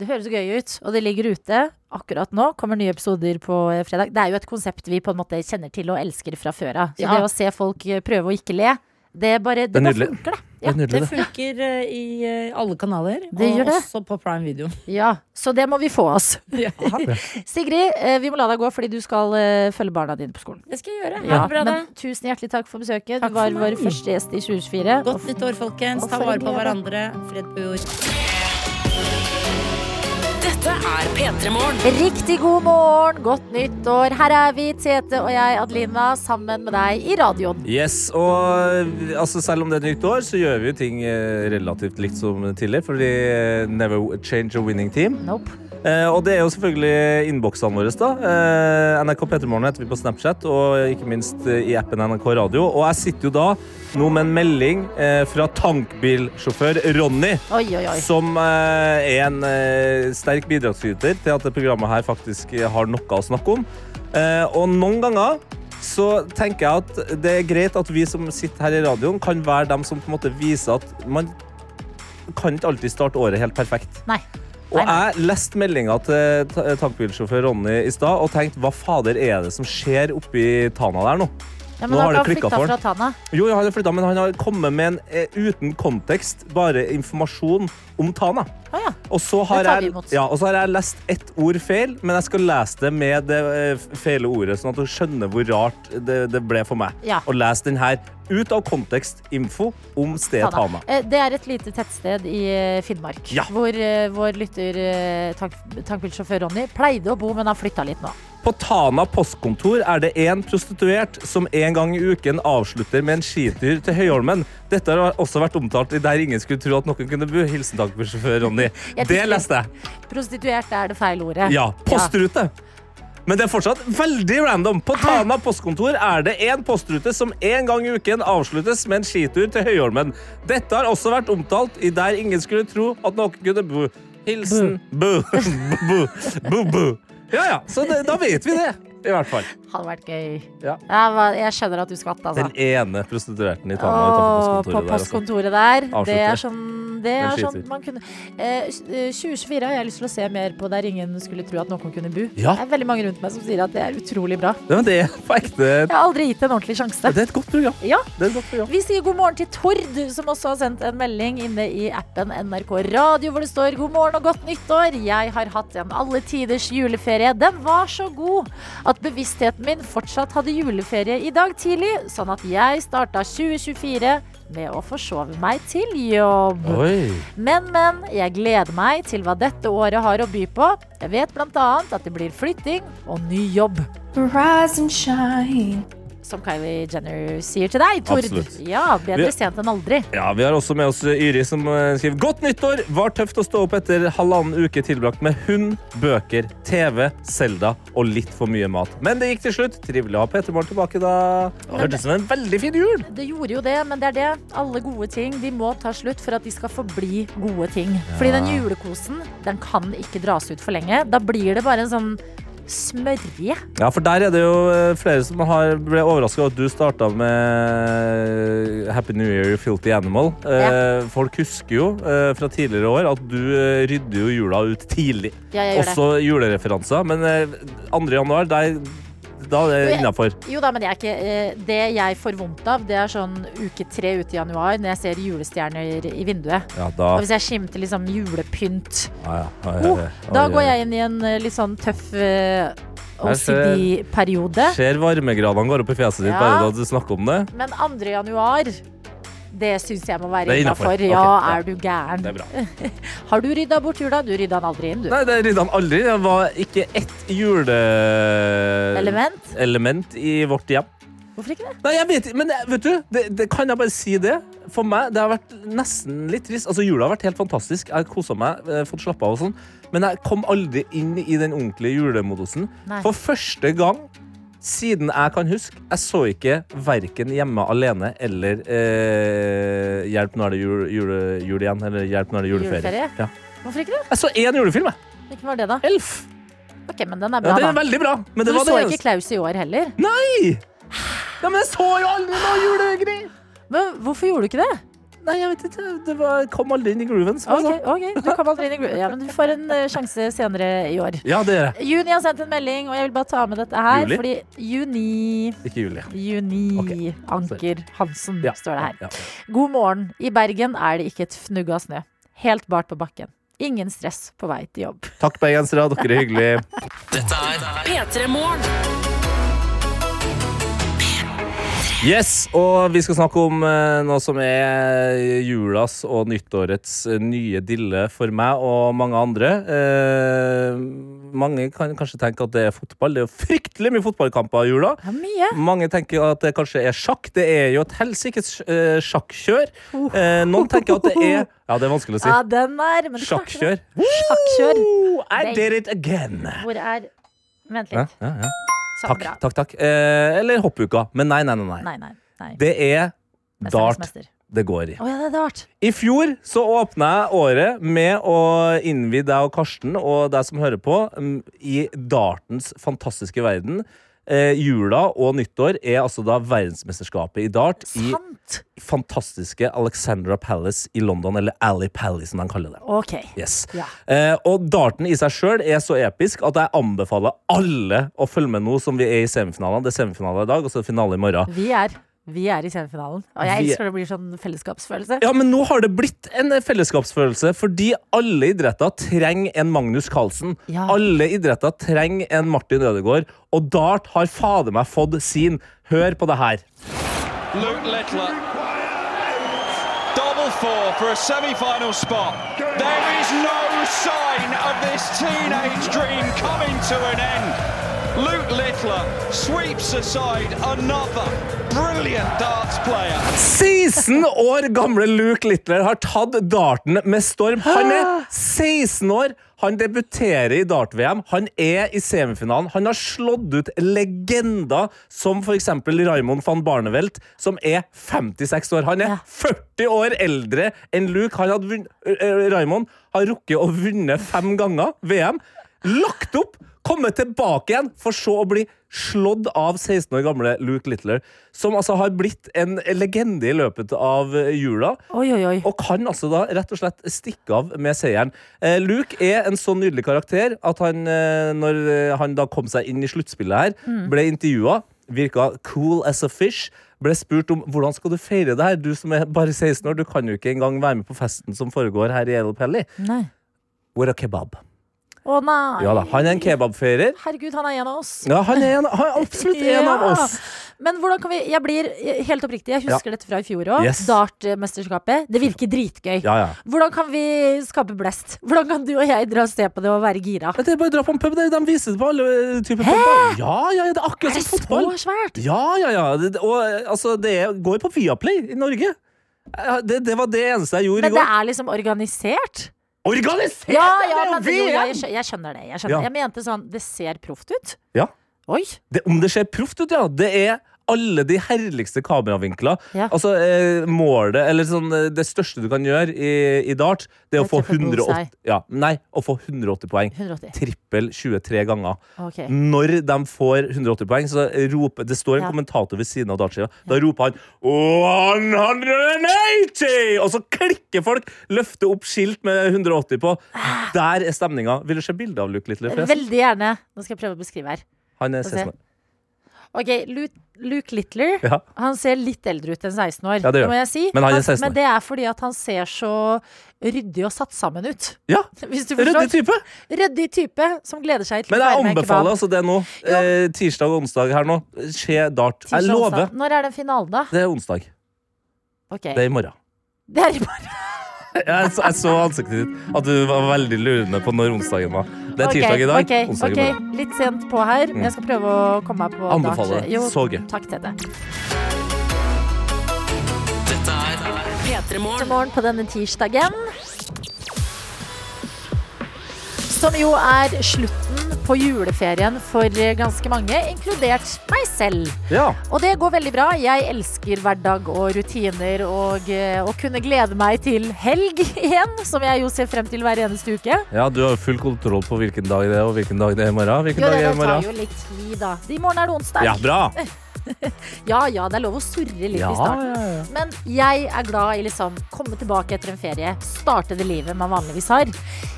Speaker 3: Det høres gøy ut, og det ligger ute akkurat nå. Kommer nye episoder på eh, fredag. Det er jo et konsept vi på en måte kjenner til og elsker fra før av. Så
Speaker 8: Ja.
Speaker 3: det å se folk eh, prøve å ikke le, det bare, det
Speaker 4: Det er
Speaker 3: bare
Speaker 4: nydelig.
Speaker 3: funker, det.
Speaker 4: Det er nydelig,
Speaker 8: Det
Speaker 4: det.
Speaker 8: funker eh, i eh, alle kanaler,
Speaker 3: Det
Speaker 8: og
Speaker 3: gjør det.
Speaker 8: også på prime video.
Speaker 3: Ja, så det må vi få oss.
Speaker 8: Ja.
Speaker 3: Sigrid, eh, vi må la deg gå fordi du skal eh, følge barna dine på skolen.
Speaker 8: Det skal jeg gjøre. Ha
Speaker 3: Ja,
Speaker 8: det bra, da.
Speaker 3: men tusen hjertelig takk for besøket.
Speaker 8: Takk
Speaker 3: du var
Speaker 8: for meg.
Speaker 3: vår første gjest i 2024.
Speaker 8: Godt nytt år, folkens.
Speaker 3: Og
Speaker 8: Ta
Speaker 3: for
Speaker 8: vare
Speaker 3: en
Speaker 8: på
Speaker 3: glede.
Speaker 8: hverandre. Fred på jord.
Speaker 2: Dette er P3 Morgen.
Speaker 3: Riktig god morgen, godt nytt år. Her er vi, Tete og jeg, Adelina, sammen med deg i radioen.
Speaker 4: Yes, og eh, altså, selv om det er nytt år, så gjør vi jo ting eh, relativt likt som tidligere. Fordi eh, never change a winning team.
Speaker 3: Nope.
Speaker 4: Eh, og det er jo selvfølgelig innboksene våre, da. Eh, NRK P3morgen heter vi på Snapchat, og ikke minst eh, i appen NRK Radio. Og jeg sitter jo da nå med en melding eh, fra tankbilsjåfør Ronny.
Speaker 3: Oi, oi, oi.
Speaker 4: Som eh, er en eh, sterk bidragsyter til at det programmet her faktisk eh, har noe å snakke om. Eh, og noen ganger så tenker jeg at det er greit at vi som sitter her i radioen, kan være dem som på en måte viser at man kan ikke alltid starte året helt perfekt.
Speaker 3: Nei.
Speaker 4: Og jeg leste meldinga til ta- tankbilsjåfør Ronny i stad og tenkte hva fader er det som skjer oppi Tana der nå?
Speaker 3: Ja, men
Speaker 4: nå har
Speaker 3: da
Speaker 4: det
Speaker 3: kan
Speaker 4: klikka
Speaker 3: flytta
Speaker 4: for
Speaker 3: fra
Speaker 4: han.
Speaker 3: Tana.
Speaker 4: Jo, han har flyttet, men han har kommet med en eh, uten kontekst, bare informasjon om Tana. Og så
Speaker 3: Det
Speaker 4: har
Speaker 3: tar vi
Speaker 4: jeg,
Speaker 3: imot.
Speaker 4: ja, og så har jeg lest ett ord feil, men jeg skal lese det med det eh, f- feile ordet, sånn at du skjønner hvor rart det, det ble for meg.
Speaker 3: Ja.
Speaker 4: Og les den her ut av kontekst info om stedet Tana.
Speaker 3: Eh, Det er et lite tettsted i eh, Finnmark.
Speaker 4: Ja.
Speaker 3: Hvor eh, vår lytter, eh, tank, tankbilsjåfør Ronny, pleide å bo, men har flytta litt nå.
Speaker 4: På Tana postkontor er det én prostituert som en gang i uken avslutter med en skitur til Høyholmen. Dette har også vært omtalt i Der ingen skulle tro at noen kunne bo. Hilsen tankbilsjåfør Ronny.
Speaker 3: Jeg
Speaker 4: Det
Speaker 3: tenker-
Speaker 4: leste jeg.
Speaker 3: Prostituert er det feil ordet.
Speaker 4: Ja, postrute. Men det er fortsatt veldig random. På Tana postkontor er det én postrute som en gang i uken avsluttes med en skitur til Høyholmen. Dette har også vært omtalt i Der ingen skulle tro at noen kunne bo. Hilsen Bu. Bu. Bu. Bu. Ja, ja. Så det, da vet vi det, i hvert fall.
Speaker 3: Ja, hadde vært gøy.
Speaker 4: Ja.
Speaker 3: Jeg, var, jeg skjønner at du skvatt, altså.
Speaker 4: Den ene prostituerten i Tana
Speaker 3: Åh,
Speaker 4: utenfor
Speaker 3: på
Speaker 4: postkontoret. altså.
Speaker 3: postkontoret der.
Speaker 4: Avslutte.
Speaker 3: Det er sånn det
Speaker 4: Den
Speaker 3: er sånn
Speaker 4: skiter.
Speaker 3: man kunne eh, s- eh, 2024 har jeg lyst til å se mer på der ingen skulle tro at noen kunne bo.
Speaker 4: Ja.
Speaker 3: Det er veldig mange rundt meg som sier at det er utrolig bra.
Speaker 4: Der, altså. Ja, men det er på ekte
Speaker 3: Jeg har aldri gitt det en ordentlig sjanse.
Speaker 4: Det er et godt program.
Speaker 3: Ja.
Speaker 4: Det er et godt program.
Speaker 3: Vi sier god morgen til Tord, som også har sendt en melding inne i appen NRK Radio, hvor det står god morgen og godt nyttår. Jeg har hatt en alle tiders juleferie. Den var så god at bevisstheten min fortsatt hadde juleferie i dag tidlig, sånn at jeg starta 2024 med å forsove meg til jobb.
Speaker 4: Oi.
Speaker 3: Men, men, jeg gleder meg til hva dette året har å by på. Jeg vet bl.a. at det blir flytting og ny jobb. Som Kylie Jenner sier til deg, Tord.
Speaker 4: Absolutt.
Speaker 3: Ja, bedre
Speaker 4: Vi-
Speaker 3: sent enn aldri.
Speaker 4: Ja, Vi har også med oss Yri, som eh, skriver Godt nyttår! Var tøft å stå opp etter halvannen uke tilbrakt med hund, bøker, TV, Selda og litt for mye mat. Men det gikk til slutt. Trivelig å ha Peter Morgen tilbake, da. Det Hørtes ut som en veldig fin jul.
Speaker 3: Det gjorde jo det, men det er det. Alle gode ting de må ta slutt for at de skal forbli gode ting. Fordi den julekosen den kan ikke dras ut for lenge. Da blir det bare en sånn smørje.
Speaker 4: Ja, for der er det jo eh, flere som har ble overraska over at du starta med eh, Happy New Year, You Filthy Animal. Eh, Folk husker jo eh, fra tidligere år at du eh, rydder jo jula ut tidlig.
Speaker 3: Ja, jeg gjør det.
Speaker 4: Også julereferanser. Men eh, 2. januar, der, da er det innafor.
Speaker 3: Jo da, men jeg er ikke, eh, det jeg får vondt av, det er sånn uke tre ute i januar når jeg ser julestjerner i vinduet.
Speaker 4: Ja, da-
Speaker 3: Og hvis jeg skimter liksom julepynt,
Speaker 4: Ja, ja, ja,
Speaker 3: oh,
Speaker 4: ja, ja.
Speaker 3: da går jeg inn i en eh, litt sånn tøff eh,
Speaker 4: Her ser-
Speaker 3: OCD-periode.
Speaker 4: Ser varmegradene går opp i fjeset ditt
Speaker 3: Ja.
Speaker 4: bare da du snakker om det.
Speaker 3: Men 2. januar, det syns jeg må
Speaker 4: Det
Speaker 3: være
Speaker 4: er
Speaker 3: innafor.
Speaker 4: innenfor. Ok,
Speaker 3: Ja,
Speaker 4: ja.
Speaker 3: er du gæren.
Speaker 4: Det er bra.
Speaker 3: Har du rydda bort jula? Du rydda den aldri inn, du.
Speaker 4: Nei, det rydda han aldri. Det var ikke ett
Speaker 3: Element?
Speaker 4: juleelement element i vårt hjem.
Speaker 3: Hvorfor ikke det?
Speaker 4: Nei, jeg vet ikke, men det- vet du, det, det kan jeg bare si det. For meg, det har vært nesten litt trist. Altså, jula har vært helt fantastisk. Jeg har koset meg, eh, fått slappe av og sånn. Men jeg kom aldri inn i den ordentlige julemodusen.
Speaker 12: Nei.
Speaker 4: For første gang siden jeg kan huske, jeg så ikke verken hjemme alene eller eh, Hjelp, nå er det jul, jule, jul igjen. Eller Hjelp, nå er det juleferie.
Speaker 3: Juleferie?
Speaker 4: Ja.
Speaker 3: Hvorfor ikke det?
Speaker 4: Jeg så én julefilm, jeg.
Speaker 3: Hvilken var det, da?
Speaker 4: Elf.
Speaker 3: Ok, men den er
Speaker 4: Ja,
Speaker 3: bra,
Speaker 4: den er
Speaker 3: da.
Speaker 4: veldig bra, men
Speaker 3: du
Speaker 4: det var det
Speaker 3: så
Speaker 4: eneste.
Speaker 3: ikke Klaus i år heller?
Speaker 4: Nei! Ja, men jeg så jo aldri noe julegreier!
Speaker 3: Men hvorfor gjorde du ikke det?
Speaker 4: Nei, jeg vet ikke. Det var, kom aldri inn i grooven. som jeg
Speaker 3: Ok,
Speaker 4: sa.
Speaker 3: ok, du kom aldri inn i gru- Ja, men du får en eh, sjanse senere i år.
Speaker 4: Ja, det gjør jeg.
Speaker 3: Juni har sendt en melding, og jeg vil bare ta med dette her.
Speaker 4: Juli?
Speaker 3: Fordi juni
Speaker 4: Ikke Julie.
Speaker 3: Juni Anker Hansen, står det her.
Speaker 4: ja,
Speaker 3: God morgen. I Bergen er det ikke et fnugg av snø. Helt bart på bakken. Ingen stress på vei til jobb.
Speaker 4: Takk, bergensere. Dere er hyggelige.
Speaker 1: Dette er
Speaker 2: P3 Morgen.
Speaker 4: Yes, og vi skal snakke om eh, noe som er julas og nyttårets eh, nye dille for meg og mange andre. Eh, mange kan kanskje tenke at det er fotball. Det er jo fryktelig mye fotballkamper i jula.
Speaker 3: mye.
Speaker 4: Mange tenker at det kanskje er sjakk. Det er jo et helsikes eh, sjakkjør. Eh, noen tenker at det er Ja, det er vanskelig å si.
Speaker 3: Ja, den er men du klarte det.
Speaker 4: Sjakkjør.
Speaker 3: Sjakkjør.
Speaker 4: I
Speaker 3: Nei.
Speaker 4: did it again.
Speaker 3: Hvor er Vent
Speaker 4: Ja,
Speaker 3: litt.
Speaker 4: ja, ja.
Speaker 3: Sånn,
Speaker 4: Takk,
Speaker 3: bra.
Speaker 4: takk, takk. Eh, eller hoppuka. Men nei, nei, nei. nei.
Speaker 3: Nei, nei. nei.
Speaker 4: Det er
Speaker 3: Mesternes
Speaker 4: dart
Speaker 3: mester.
Speaker 4: det går i.
Speaker 3: Å ja, det er dart.
Speaker 4: I fjor så åpna jeg året med å innvie deg og Karsten og deg som hører på, mm, i dartens fantastiske verden. Eh, jula og nyttår er altså da verdensmesterskapet i dart
Speaker 3: Sant.
Speaker 4: i fantastiske Alexandra Palace i London, eller Alley Palace, som de kaller det.
Speaker 3: OK.
Speaker 4: Yes.
Speaker 3: Ja.
Speaker 4: Eh, og darten i seg sjøl er så episk at jeg anbefaler alle å følge med nå som vi er i semifinalene. Det er semifinale i dag, og så er det finale i morgen.
Speaker 3: Vi er, vi er i semifinalen. Og jeg
Speaker 4: Vi-
Speaker 3: elsker når det blir sånn fellesskapsfølelse.
Speaker 4: Ja, men nå har det blitt en eh, fellesskapsfølelse, fordi alle idretter trenger en Magnus Carlsen. Alle idretter trenger en Martin Ødegaard, og dart har fader meg fått sin. Hør på det her.
Speaker 13: Luke Littler. Double four for a semi-final spot. There is no sign of this teenage dream coming to an end. Luke Littler sweeps aside another brilliant darts player.
Speaker 4: 16 år gamle Luke Littler har tatt darten med storm. Han er 16 år. Han debuterer i dart-VM. Han er i semifinalen. Han har slått ut legender som f.eks. Raymond van Barnevelt, som er 56 år. Han er 40 år eldre enn Luke. Han hadde vunn- eh, eh, Raymond har rukket å vinne fem ganger VM. Lagt opp, kommet tilbake igjen, for så å bli slått av 16 år gamle Luke Littler, som altså har blitt en legende i løpet av eh, jula. Og kan altså da rett og slett stikke av med seieren. Eh, Luke er en så nydelig karakter at han, eh, når eh, han da kom seg inn i sluttspillet her,
Speaker 12: Mm.
Speaker 4: ble intervjua, virka cool as a fish. Ble spurt om hvordan skal du feire det her, du som er bare 16 år, du kan jo ikke engang være med på festen som foregår her i El Pelli.
Speaker 3: Nei.
Speaker 4: With a kebab.
Speaker 3: Å nei.
Speaker 4: Ja da, Han er en kebabfeirer.
Speaker 3: Herregud, han er en av oss.
Speaker 4: Ja, han er, en, han er absolutt en av
Speaker 3: Ja.
Speaker 4: oss.
Speaker 3: Men hvordan kan vi Jeg blir eh, helt oppriktig, jeg husker
Speaker 4: Ja.
Speaker 3: dette fra i fjor òg.
Speaker 4: Yes.
Speaker 3: Dartmesterskapet. Det virker dritgøy.
Speaker 4: Ja, ja.
Speaker 3: Hvordan kan vi skape blest? Hvordan kan du og jeg dra og se på det og være gira?
Speaker 4: Det er bare å dra på en pub. det- De viser det på alle eh, typer puber. Ja, ja, ja, det er akkurat som fotball.
Speaker 3: så svært?
Speaker 4: Ja, ja, ja. Det, det- og eh, altså, det er- går på Viaplay i Norge. Eh, Det, det var det eneste jeg gjorde
Speaker 3: Men
Speaker 4: i
Speaker 3: det
Speaker 4: går.
Speaker 3: er liksom organisert?
Speaker 4: Organisert!
Speaker 3: Ja,
Speaker 4: Det
Speaker 3: ja,
Speaker 4: er jo
Speaker 3: men det, jo,
Speaker 4: VM!
Speaker 3: jeg, skjø- jeg skjønner det. Jeg, skjønner.
Speaker 4: Ja.
Speaker 3: jeg mente sånn Det ser proft ut.
Speaker 4: Ja.
Speaker 3: Oi.
Speaker 4: Det, om det ser proft ut, ja. Det er alle de herligste kameravinkler. Altså, eh, målet, eller sånn, eh, det største du kan gjøre i, i dart, det er å få
Speaker 3: Det er triple bullseye.
Speaker 4: 180, ja, nei, å få 180 poeng.
Speaker 3: 180.
Speaker 4: Trippel 23 ganger.
Speaker 3: Ok.
Speaker 4: Mm, Når de får 180 poeng, så roper Det står
Speaker 3: Ja.
Speaker 4: en kommentator ved siden av dartskiva. Da roper han 180! Og så klikker folk! Løfter opp skilt med 180 på. Der er stemninga. Vil du se bilde av Luke Little? forresten?
Speaker 3: Veldig gjerne. Nå skal jeg prøve å beskrive her.
Speaker 4: Han er
Speaker 3: Få se.
Speaker 4: 16 år.
Speaker 3: Ok, Luke, Luke Littler
Speaker 4: Ja.
Speaker 3: Han ser litt eldre ut enn 16 år,
Speaker 4: Ja, det gjør
Speaker 3: må
Speaker 4: han.
Speaker 3: jeg si.
Speaker 4: Men han er 16 år.
Speaker 3: men det er fordi at han ser så ryddig og satt sammen ut.
Speaker 4: Ja.
Speaker 3: Hvis du forstår.
Speaker 4: Ryddig type.
Speaker 3: Ryddig type som gleder seg til
Speaker 4: Men
Speaker 3: å
Speaker 4: jeg
Speaker 3: være med i
Speaker 4: anbefaler
Speaker 3: kebab.
Speaker 4: altså det nå. Eh, tirsdag og onsdag her nå. Skje dart.
Speaker 3: Tirsdag,
Speaker 4: Jeg lover.
Speaker 3: onsdag. Når er den finalen, da?
Speaker 4: Det er onsdag.
Speaker 3: Ok.
Speaker 4: Det er i morgen.
Speaker 3: Det er i morgen.
Speaker 4: Jeg så, jeg så ansiktet ditt at du var veldig lurende på når onsdagen var. Det er
Speaker 3: Ok,
Speaker 4: tirsdag i dag.
Speaker 3: ok,
Speaker 4: onsdag i
Speaker 3: ok.
Speaker 4: morgen. Mm.
Speaker 3: Litt sent på her, men jeg skal prøve å komme meg på
Speaker 4: Anbefaler
Speaker 3: dart.
Speaker 4: det.
Speaker 3: Jo,
Speaker 4: Så gøy.
Speaker 3: Takk, Tete.
Speaker 2: Dette er P3morgen.
Speaker 3: God morgen på denne tirsdagen. Som jo er slutten på juleferien for ganske mange, inkludert meg selv.
Speaker 4: Ja.
Speaker 3: Og det går veldig bra. Jeg elsker hverdag og rutiner og eh, å kunne glede meg til helg igjen, som jeg jo ser frem til hver eneste uke.
Speaker 4: ja, du har jo full kontroll på hvilken dag det er, og hvilken dag det er i morgen. Hvilken
Speaker 3: Jo,
Speaker 4: dag
Speaker 3: det,
Speaker 4: er det
Speaker 3: det
Speaker 4: i
Speaker 3: tar jo
Speaker 4: morgen?
Speaker 3: litt tid, da. I morgen er det onsdag.
Speaker 4: Ja, bra!
Speaker 3: Ja, ja, det er lov å surre litt
Speaker 4: Ja,
Speaker 3: i starten. Men jeg er glad i liksom komme tilbake etter en ferie, starte det livet man vanligvis har.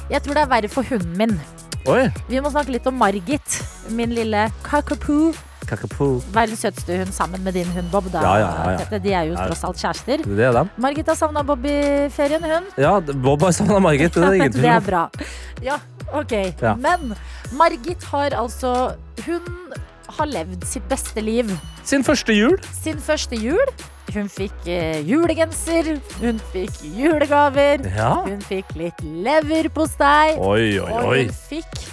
Speaker 3: Jeg tror det er verre for hunden min.
Speaker 4: Oi!
Speaker 3: Vi må snakke litt om Margit, min lille kakapoo.
Speaker 4: Kakapo.
Speaker 3: Verdens søteste hund sammen med din hund Bob. Da,
Speaker 4: Ja, ja, ja, ja.
Speaker 3: Tete. De er jo
Speaker 4: Ja.
Speaker 3: tross alt kjærester.
Speaker 4: Det er dem.
Speaker 3: Margit har savna Bob i ferien, hun.
Speaker 4: Ja, Bob har savna Margit. Det er det ingen
Speaker 3: Det
Speaker 4: tvil
Speaker 3: er
Speaker 4: om.
Speaker 3: bra. Ja, OK.
Speaker 4: Ja.
Speaker 3: Men Margit har altså Hun har levd sitt beste liv
Speaker 4: Sin første jul.
Speaker 3: sin første jul. Hun fikk eh, julegenser, hun fikk julegaver,
Speaker 4: Ja.
Speaker 3: hun fikk litt leverpostei.
Speaker 4: Oi, oi,
Speaker 3: Og
Speaker 4: oi.
Speaker 3: hun fikk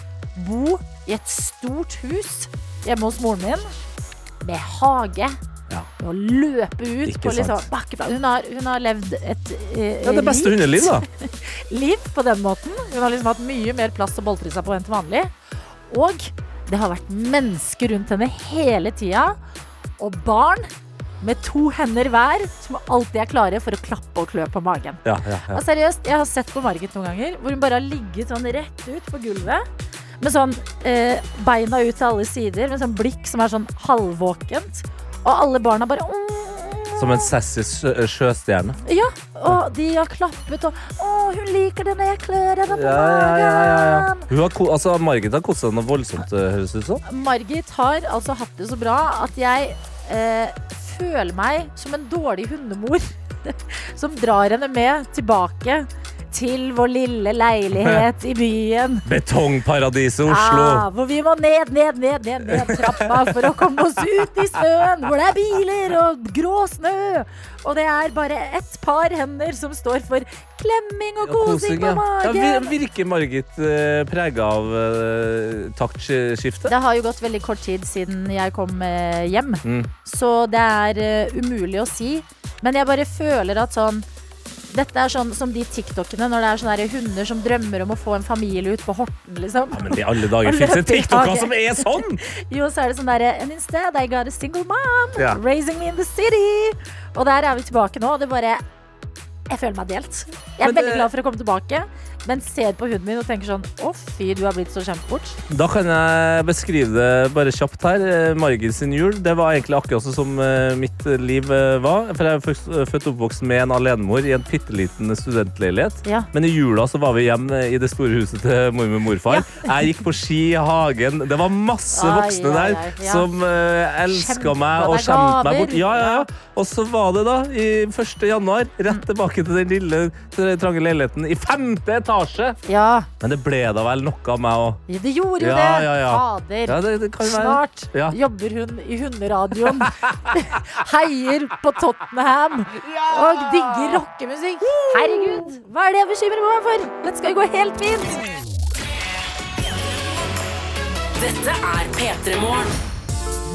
Speaker 3: bo i et stort hus hjemme hos moren min, med hage.
Speaker 4: Ja.
Speaker 3: Med å løpe ut
Speaker 4: Ikke
Speaker 3: på liksom,
Speaker 4: sant.
Speaker 3: bakkeplan. Hun har, hun har levd et eh,
Speaker 4: Ja, det beste
Speaker 3: rikt
Speaker 4: hundeliv, da.
Speaker 3: liv på den måten. Hun har liksom hatt mye mer plass å boltre seg på enn til vanlig. Og det har vært mennesker rundt henne hele tida. Og barn med to hender hver som alltid er klare for å klappe og klø på magen.
Speaker 4: Ja, ja, ja.
Speaker 3: Og seriøst, Jeg har sett på Margit noen ganger hvor hun bare har ligget sånn rett ut på gulvet. Med sånn eh, beina ut til alle sider, med sånn blikk som er sånn halvvåkent. Og alle barna bare «Åh,
Speaker 4: Som en sassy sjø- eh, sjøstjerne.
Speaker 3: Ja, og de har klappet og Å, hun liker det når jeg klør henne på
Speaker 4: Ja, ja, ja, ja, ja.
Speaker 3: magen.
Speaker 4: Hun har ko altså, Margit har kost seg noe voldsomt, eh, høres det ut som.
Speaker 3: Margit har altså hatt det så bra at jeg eh, føler meg som en dårlig hundemor som drar henne med tilbake til vår lille leilighet i byen.
Speaker 4: Betongparadiset
Speaker 3: Ah,
Speaker 4: Oslo.
Speaker 3: hvor vi må ned, ned, ned, ned, ned trappa for å komme oss ut i snøen. Hvor det er biler og grå snø. Og det er bare ett par hender som står for klemming og kosing på
Speaker 4: ja. Ja,
Speaker 3: magen.
Speaker 4: vir- virker Margit uh, prega av uh, taktskifte?
Speaker 3: Det har jo gått veldig kort tid siden jeg kom eh, hjem,
Speaker 4: Mm.
Speaker 3: så det er eh, umulig å si. Men jeg bare føler at sånn Dette er sånn som de TikTokene når det er sånne her hunder som drømmer om å få en familie ut på Horten, liksom.
Speaker 4: Men i alle dager fins det TikToker som er sånn!
Speaker 3: Jo, så er det sånn derre And instead I got a single mom
Speaker 4: Ja.
Speaker 3: raising me in the city. Og der er vi tilbake nå, og det bare Jeg føler meg delt. Jeg er
Speaker 4: Men det-
Speaker 3: veldig glad for å komme tilbake, men ser på hunden min og tenker sånn Å, fy, du har blitt så kjent bort.
Speaker 4: Da kan jeg beskrive det bare kjapt her. Eh, Margit sin jul det var egentlig akkurat sånn som eh, mitt liv eh, var. For jeg er først- eh, født og oppvokst med en alenemor i en pitteliten studentleilighet.
Speaker 3: Ja.
Speaker 4: Men i jula så var vi hjemme eh, i det store huset til mormor og morfar. Jeg gikk på ski i hagen. Det var masse
Speaker 3: Ai,
Speaker 4: voksne
Speaker 3: ai,
Speaker 4: der
Speaker 3: ai, ja.
Speaker 4: som uh,
Speaker 3: Skjemte
Speaker 4: elska meg
Speaker 3: på
Speaker 4: og
Speaker 3: deg
Speaker 4: skjemte meg bort.
Speaker 3: gaver.
Speaker 4: Ja, ja, ja. Og så var det da, i 1. januar,
Speaker 3: Mm.
Speaker 4: rett tilbake til den lille trange leiligheten i femte etasje.
Speaker 3: Ja,
Speaker 4: Men det ble da vel noe av meg òg.
Speaker 3: det gjorde jo
Speaker 4: Ja,
Speaker 3: det.
Speaker 4: ja, ja.
Speaker 3: Fader.
Speaker 4: Ja, det- det kan være.
Speaker 3: Snart
Speaker 4: Ja.
Speaker 3: jobber hun i hunderadioen. Heier på Tottenham og digger rockemusikk. Herregud, hva er det jeg bekymrer meg for? Dette skal jo gå helt fint.
Speaker 2: Dette er P3morgen.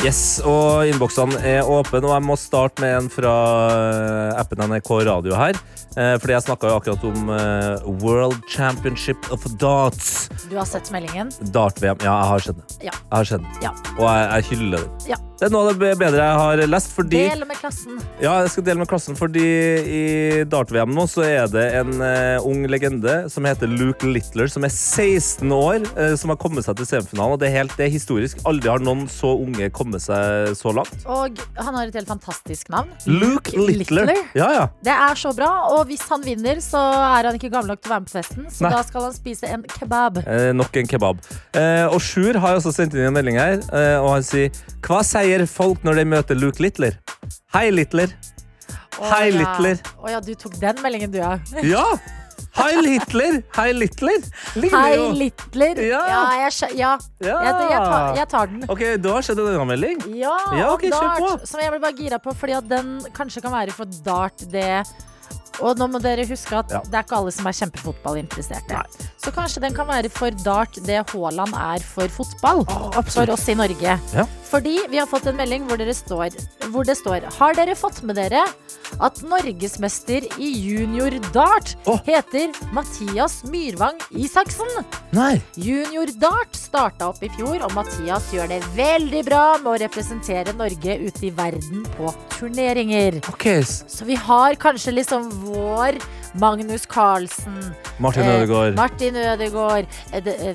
Speaker 4: Yes, og innboksene er åpne, og jeg må starte med en fra eh, appen NRK Radio her. Eh, Fordi jeg snakka jo akkurat om eh, World Championship of Darts.
Speaker 3: Du har sett meldingen?
Speaker 4: Dart-VM. Ja, jeg har sett det.
Speaker 3: Ja.
Speaker 4: Jeg har sett det.
Speaker 3: Ja.
Speaker 4: Og jeg, jeg hyller det.
Speaker 3: Ja.
Speaker 4: Det er noe av det bedre jeg har lest, fordi
Speaker 3: Del med klassen.
Speaker 4: ja, jeg skal dele med klassen, fordi i dart-VM nå så er det en eh, ung legende som heter Luke Littler, som er 16 år, eh, som har kommet seg til semifinalen. Og det er, helt, det er historisk. Aldri har noen så unge kommet seg så langt.
Speaker 3: Og han har et helt fantastisk navn.
Speaker 4: Luke Littler.
Speaker 3: Littler?
Speaker 4: Ja, ja.
Speaker 3: Det er så bra, og hvis han vinner, så er han ikke gammel nok til å være med på festen. Så
Speaker 4: Nei.
Speaker 3: da skal han spise en kebab.
Speaker 4: Eh, nok en kebab. Eh, og Sjur har også sendt inn en melding her, eh, og han sier Hva sier folk når de møter Luke Littler? Hei, Littler.
Speaker 3: Å,
Speaker 4: Hei,
Speaker 3: ja.
Speaker 4: Littler.
Speaker 3: Å ja, du tok den meldingen, du, ja.
Speaker 4: Ja! Heil Hitler! Heil Littler! Ligner
Speaker 3: Hei,
Speaker 4: jo.
Speaker 3: Littler. Ja,
Speaker 4: Ja.
Speaker 3: jeg, skjø- ja. Jeg, jeg, tar, jeg tar den.
Speaker 4: Ok, Da skjedde det en annen melding.
Speaker 3: Ja,
Speaker 4: Ja, ok,
Speaker 3: om
Speaker 4: kjør
Speaker 3: dart, som jeg ble bare gira på, fordi at den kanskje kan være for dart, det Og nå må dere huske at
Speaker 4: Ja.
Speaker 3: det er ikke alle som er kjempefotballinteresserte. Så kanskje den kan være for dart det Haaland er for fotball. for oss i Norge.
Speaker 4: Ja.
Speaker 3: Fordi vi har fått en melding hvor, dere står, hvor det står Har dere fått med dere at norgesmester i junior dart heter Mathias Myrvang Isaksen?
Speaker 4: Nei.
Speaker 3: Junior dart starta opp i fjor, og Mathias gjør det veldig bra med å representere Norge ute i verden på turneringer.
Speaker 4: Ok, s-
Speaker 3: Så vi har kanskje liksom vår Magnus Carlsen.
Speaker 4: Martin Ødegaard.
Speaker 3: Eh, Martin Ødegaard. Eh, det- eh,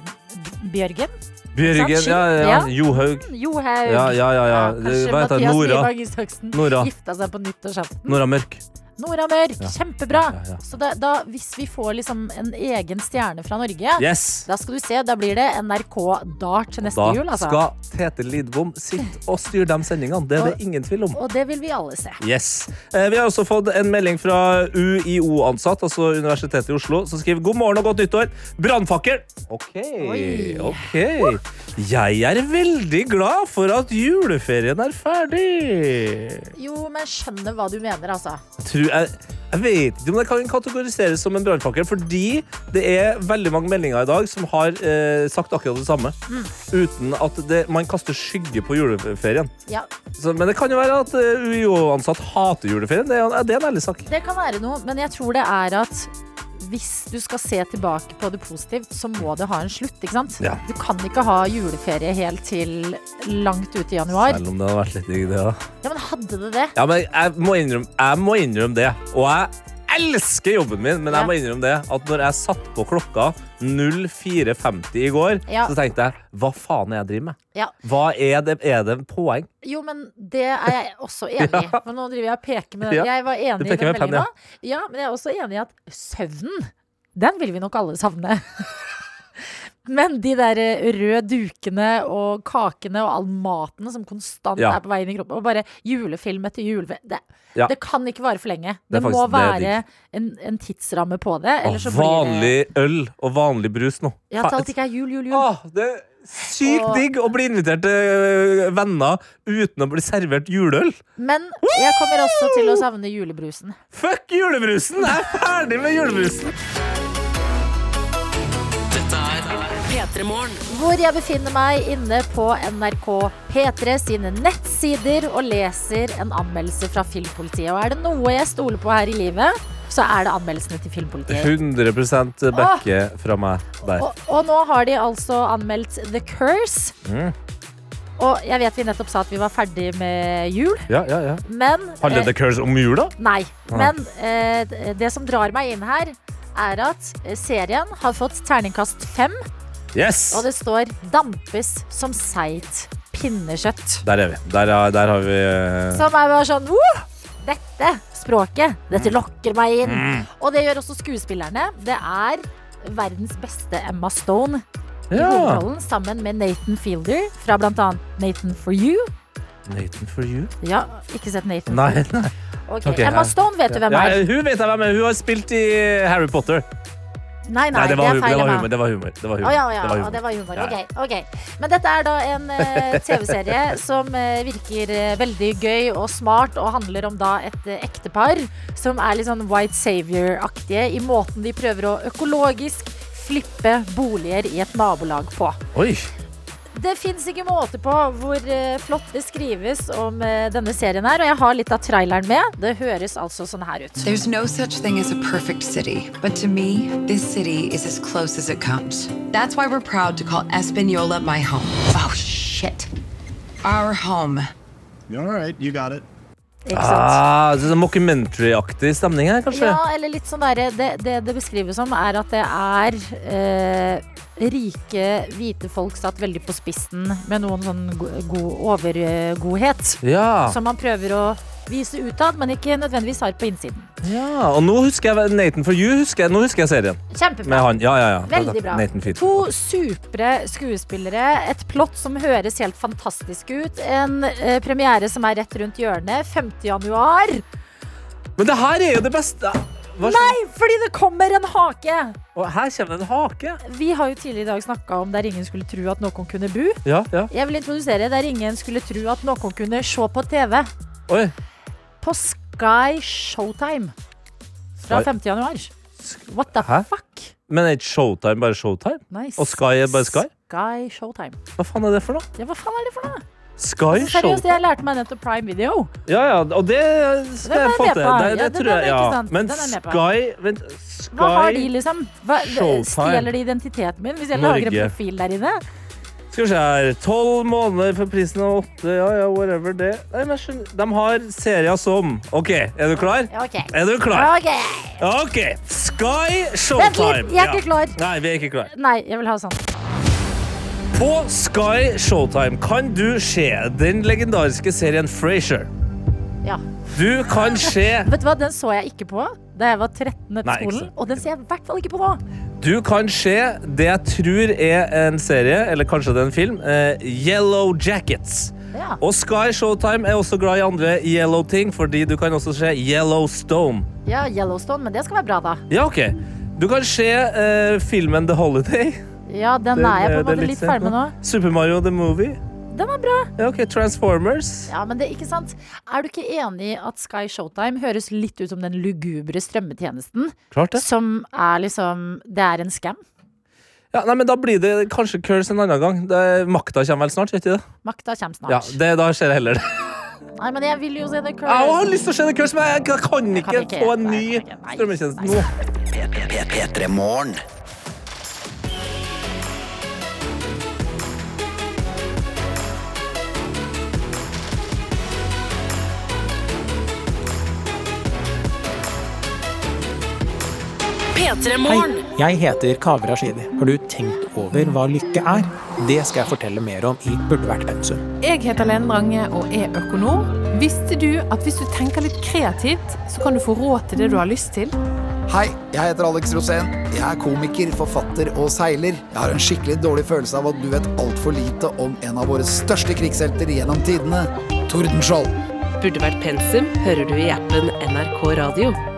Speaker 3: Bjørgen?
Speaker 4: Bjørgen,
Speaker 3: Sant,
Speaker 4: ja, ja,
Speaker 3: ja.
Speaker 4: Johaug.
Speaker 3: Johaug.
Speaker 4: Ja, ja, ja, ja.
Speaker 3: kanskje
Speaker 4: Hva heter hun?
Speaker 3: Mathias
Speaker 4: Nora.
Speaker 3: Nyvang Isaksen
Speaker 4: Nora.
Speaker 3: gifta seg på nyttårsaften.
Speaker 4: Nora Mørk.
Speaker 3: Nora Mørk,
Speaker 4: Ja.
Speaker 3: kjempebra.
Speaker 4: Ja, ja.
Speaker 3: Så da, da, hvis vi får liksom en egen stjerne fra Norge,
Speaker 4: Yes.
Speaker 3: da skal du se, da blir det NRK Dart til neste
Speaker 4: Da
Speaker 3: jul, altså.
Speaker 4: skal Tete Lidbom sitte og styre de sendingene. Det er det ingen tvil om.
Speaker 3: Og det vil vi alle se.
Speaker 4: Yes. Eh, Vi har også fått en melding fra UiO-ansatt, altså Universitetet i Oslo, som skriver god morgen og godt nyttår. Brannfakkel! OK. ok. Jeg er veldig glad for at juleferien er ferdig.
Speaker 3: Jo, men skjønner hva du mener, altså.
Speaker 4: tror jeg, jeg vet ikke om det kan kategoriseres som en brannfakkel, fordi det er veldig mange meldinger i dag som har eh, sagt akkurat det samme. Uten at det, man kaster skygge på juleferien.
Speaker 3: Ja,
Speaker 4: Så, men det kan jo være at eh, UiO-ansatt hater juleferien. Det er, det er en ærlig sak.
Speaker 3: det kan være noe, men jeg tror det er at hvis du skal se tilbake på det positivt, så må det ha en slutt, ikke sant?
Speaker 4: Ja.
Speaker 3: Du kan ikke ha juleferie helt til langt ut i januar.
Speaker 4: Selv om det har vært litt digg, det. da.
Speaker 3: Ja, men hadde det det?
Speaker 4: Ja, men jeg må innrømme, jeg må innrømme det. Og jeg elsker jobben min, men
Speaker 3: Ja.
Speaker 4: jeg må innrømme det at når jeg satt på klokka 04.50 i går,
Speaker 3: Ja.
Speaker 4: så tenkte jeg hva faen er jeg driver med?
Speaker 3: Ja.
Speaker 4: Hva er det, er det en poeng?
Speaker 3: Jo, men det er jeg også enig i. For nå driver jeg og peker med
Speaker 4: Ja.
Speaker 3: Jeg var
Speaker 4: Du
Speaker 3: enig i
Speaker 4: peker
Speaker 3: den
Speaker 4: med penn,
Speaker 3: meldinga. Ja. men jeg er også enig i at søvnen, den vil vi nok alle savne. Men de der eh, røde dukene og kakene og all maten som konstant
Speaker 4: Ja.
Speaker 3: er på vei inn i kroppen, og bare julefilm etter julefilm det,
Speaker 4: Ja.
Speaker 3: det kan ikke vare for lenge.
Speaker 4: Det er
Speaker 3: Det, må
Speaker 4: faktisk- det er
Speaker 3: være en, en tidsramme på det.
Speaker 4: Og
Speaker 3: Eller så blir det
Speaker 4: vanlig øl og vanlig brus nå.
Speaker 3: Ja, at alt ikke er jul, jul, jul.
Speaker 4: det er Sykt digg å bli invitert til øh, venner uten å bli servert juleøl.
Speaker 3: Men jeg kommer også til å savne julebrusen.
Speaker 4: Fuck julebrusen! Jeg er ferdig med julebrusen!
Speaker 2: Dette er P3 Morgen.
Speaker 3: hvor jeg befinner meg inne på NRK P3 sine nettsider og leser en anmeldelse fra Filmpolitiet. Og er det noe jeg stoler på her i livet, så er det anmeldelsene til Filmpolitiet.
Speaker 4: 100 backe fra meg der.
Speaker 3: Og, og nå har de altså anmeldt The Curse.
Speaker 4: Mm.
Speaker 3: Og jeg vet vi nettopp sa at vi var ferdig med jul,
Speaker 4: Ja, ja, ja.
Speaker 3: men
Speaker 4: Handler
Speaker 3: eh,
Speaker 4: The Curse om jula?
Speaker 3: Nei.
Speaker 4: Ah.
Speaker 3: Men eh, det som drar meg inn her, er at eh, serien har fått terningkast fem.
Speaker 4: Yes!
Speaker 3: Og det står 'dampes som seigt pinnekjøtt'.
Speaker 4: Der er vi. Der, er- der har vi øh,
Speaker 3: Som er bare sånn «Woo! Dette språket, dette lokker meg inn.
Speaker 4: Mm.
Speaker 3: Og det gjør også skuespillerne. Det er verdens beste Emma Stone i
Speaker 4: Ja.
Speaker 3: hovedrollen sammen med Nathan Fielder fra bl.a. Nathan for you.
Speaker 4: Nathan for you?
Speaker 3: Ja, ikke sett Nathan.
Speaker 4: Nei,
Speaker 3: for you.
Speaker 4: nei.
Speaker 3: Ok,
Speaker 4: Ok,
Speaker 3: Emma
Speaker 4: ja.
Speaker 3: Stone vet du hvem
Speaker 4: Ja,
Speaker 3: er.
Speaker 4: hun vet jeg hvem er. Hun har spilt i Harry Potter.
Speaker 3: Nei, nei,
Speaker 4: det
Speaker 3: er
Speaker 4: var, humor, det
Speaker 3: feil
Speaker 4: var
Speaker 3: Emma.
Speaker 4: humor. Det var humor. Det var humor.
Speaker 3: Å ja, å ja,
Speaker 4: Det var humor.
Speaker 3: å, det var humor.
Speaker 4: Ja,
Speaker 3: Ok,
Speaker 4: ja.
Speaker 3: ok. Men dette er da en eh, TV-serie som eh, virker eh, veldig gøy og smart, og handler om da et eh, ektepar som er litt sånn White Savior-aktige i måten de prøver å økologisk flippe boliger i et nabolag på.
Speaker 4: Oi!
Speaker 3: Det fins ikke måte på hvor eh, flott det skrives om eh, denne serien her, og jeg har litt av traileren med. Det høres altså sånn her ut.
Speaker 12: There's no such thing as a perfect city, but to me, this city is as close as it comes. That's why we're proud to call Espanola my home. Oh, shit. Our home.
Speaker 14: All right, you got it.
Speaker 3: Ikke
Speaker 4: Ah, så det er Mockumentary-aktig stemning her, kanskje?
Speaker 3: Ja, eller litt sånn derre det, det det beskrives som, er at det er eh, rike, hvite folk satt veldig på spissen med noen sånn go- god overgodhet.
Speaker 4: Ja.
Speaker 3: Som man prøver å vise utad, men ikke nødvendigvis har på innsiden.
Speaker 4: Ja, og nå husker jeg Nathan for you. Husker jeg, nå husker jeg serien.
Speaker 3: Kjempebra.
Speaker 4: Med han. Ja, ja, ja.
Speaker 3: Veldig bra.
Speaker 4: Nathan Fielder.
Speaker 3: To supre skuespillere, et plott som høres helt fantastisk ut, en eh, premiere som er rett rundt hjørnet, 5. januar.
Speaker 4: Men det her er jo det beste. Hva skjer?
Speaker 3: Nei, fordi det kommer en hake!
Speaker 4: Og her kommer det en hake.
Speaker 3: Vi har jo tidligere i dag snakka om der ingen skulle tro at noen kunne bu.
Speaker 4: Ja, ja.
Speaker 3: Jeg vil introdusere der ingen skulle tro at noen kunne se på TV.
Speaker 4: Oi.
Speaker 3: På Sky Showtime fra
Speaker 4: Sky-
Speaker 3: 5. januar. What the
Speaker 4: Hæ?
Speaker 3: fuck?
Speaker 4: Men er ikke Showtime bare Showtime?
Speaker 3: Nice.
Speaker 4: Og Sky er bare Sky?
Speaker 3: Sky Showtime.
Speaker 4: Hva faen er det for noe?
Speaker 3: Ja, hva faen er det for noe?
Speaker 4: Sky
Speaker 3: Seriøst,
Speaker 4: Showtime?
Speaker 3: jeg lærte meg nettopp Prime Video.
Speaker 4: Ja, ja, og det
Speaker 3: Den er
Speaker 4: skal jeg
Speaker 3: jeg
Speaker 4: få
Speaker 3: med
Speaker 4: til.
Speaker 3: på. Ja,
Speaker 4: Det, det
Speaker 3: den
Speaker 4: tror
Speaker 3: er
Speaker 4: jeg,
Speaker 3: ikke
Speaker 4: ja.
Speaker 3: sant?
Speaker 4: Men
Speaker 3: Den er jeg med på.
Speaker 4: Sky Vent, Sky
Speaker 3: Hva har de, liksom? Hva,
Speaker 4: Showtime.
Speaker 3: stjeler de identiteten min hvis jeg lager en
Speaker 4: Norge.
Speaker 3: profil der inne?
Speaker 4: Skal vi se her. Tolv måneder for prisen av åtte. Ja, ja, whatever det. Nei, men jeg skjønner. De har serier som OK, er du klar?
Speaker 3: Ja, ok.
Speaker 4: Er du klar?
Speaker 3: Ok.
Speaker 4: OK. Sky
Speaker 3: Vent
Speaker 4: Showtime.
Speaker 3: litt, jeg er ikke klar.
Speaker 4: Nei, vi er ikke klar.
Speaker 3: Nei, jeg vil ha sånn.
Speaker 4: På Sky Showtime kan du se den legendariske serien Frasier.
Speaker 3: Ja.
Speaker 4: Du kan se
Speaker 3: Vet du hva, den så jeg ikke på da jeg var 13 etter
Speaker 4: Nei, ikke
Speaker 3: skolen.
Speaker 4: sant.
Speaker 3: Og den ser jeg i hvert fall ikke på nå.
Speaker 4: Du kan se det jeg tror er en serie, eller kanskje det er en film, eh, Yellow Jackets.
Speaker 3: Ja.
Speaker 4: Og Sky Showtime er også glad i andre yellow ting, fordi du kan også se Yellowstone.
Speaker 3: Ja, Yellowstone, men det skal være bra, da.
Speaker 4: Ja, OK. Du kan se eh, filmen The Holiday.
Speaker 3: Ja, den er jeg på en
Speaker 4: det
Speaker 3: måte litt ferdig med nå.
Speaker 4: Super Mario The Movie.
Speaker 3: Den er bra.
Speaker 4: Ja, OK. Transformers.
Speaker 3: Ja, men det er ikke sant. Er du ikke enig i at Sky Showtime høres litt ut som den lugubre strømmetjenesten?
Speaker 4: Klart det.
Speaker 3: Som er liksom Det er en scam.
Speaker 4: Ja, nei, men Da blir det kanskje Curls en annen gang. Det, makta kommer vel snart? gjør ikke det?
Speaker 3: Makta kommer snart.
Speaker 4: Ja, det, da skjer det heller det.
Speaker 3: Nei, men jeg vil jo se The
Speaker 4: Jeg har også
Speaker 3: Curse.
Speaker 4: lyst til å se The Curse, men jeg kan ikke,
Speaker 3: kan ikke,
Speaker 4: få en ny strømmetjeneste nå.
Speaker 1: P3 Morgen.
Speaker 2: P3 Morgen.
Speaker 15: Jeg heter Kaveh Rashidi. Har du tenkt over hva lykke er? Det skal jeg fortelle mer om i Burde vært pensum.
Speaker 16: Jeg heter Lene Drange og er økonom. Visste du at hvis du tenker litt kreativt, så kan du få råd til det du har lyst til?
Speaker 17: Hei, jeg heter Alex Rosén. Jeg er komiker, forfatter og seiler. Jeg har en skikkelig dårlig følelse av at du vet altfor lite om en av våre største krigshelter gjennom tidene, Tordenskjold.
Speaker 2: Burde vært pensum hører du i appen NRK Radio.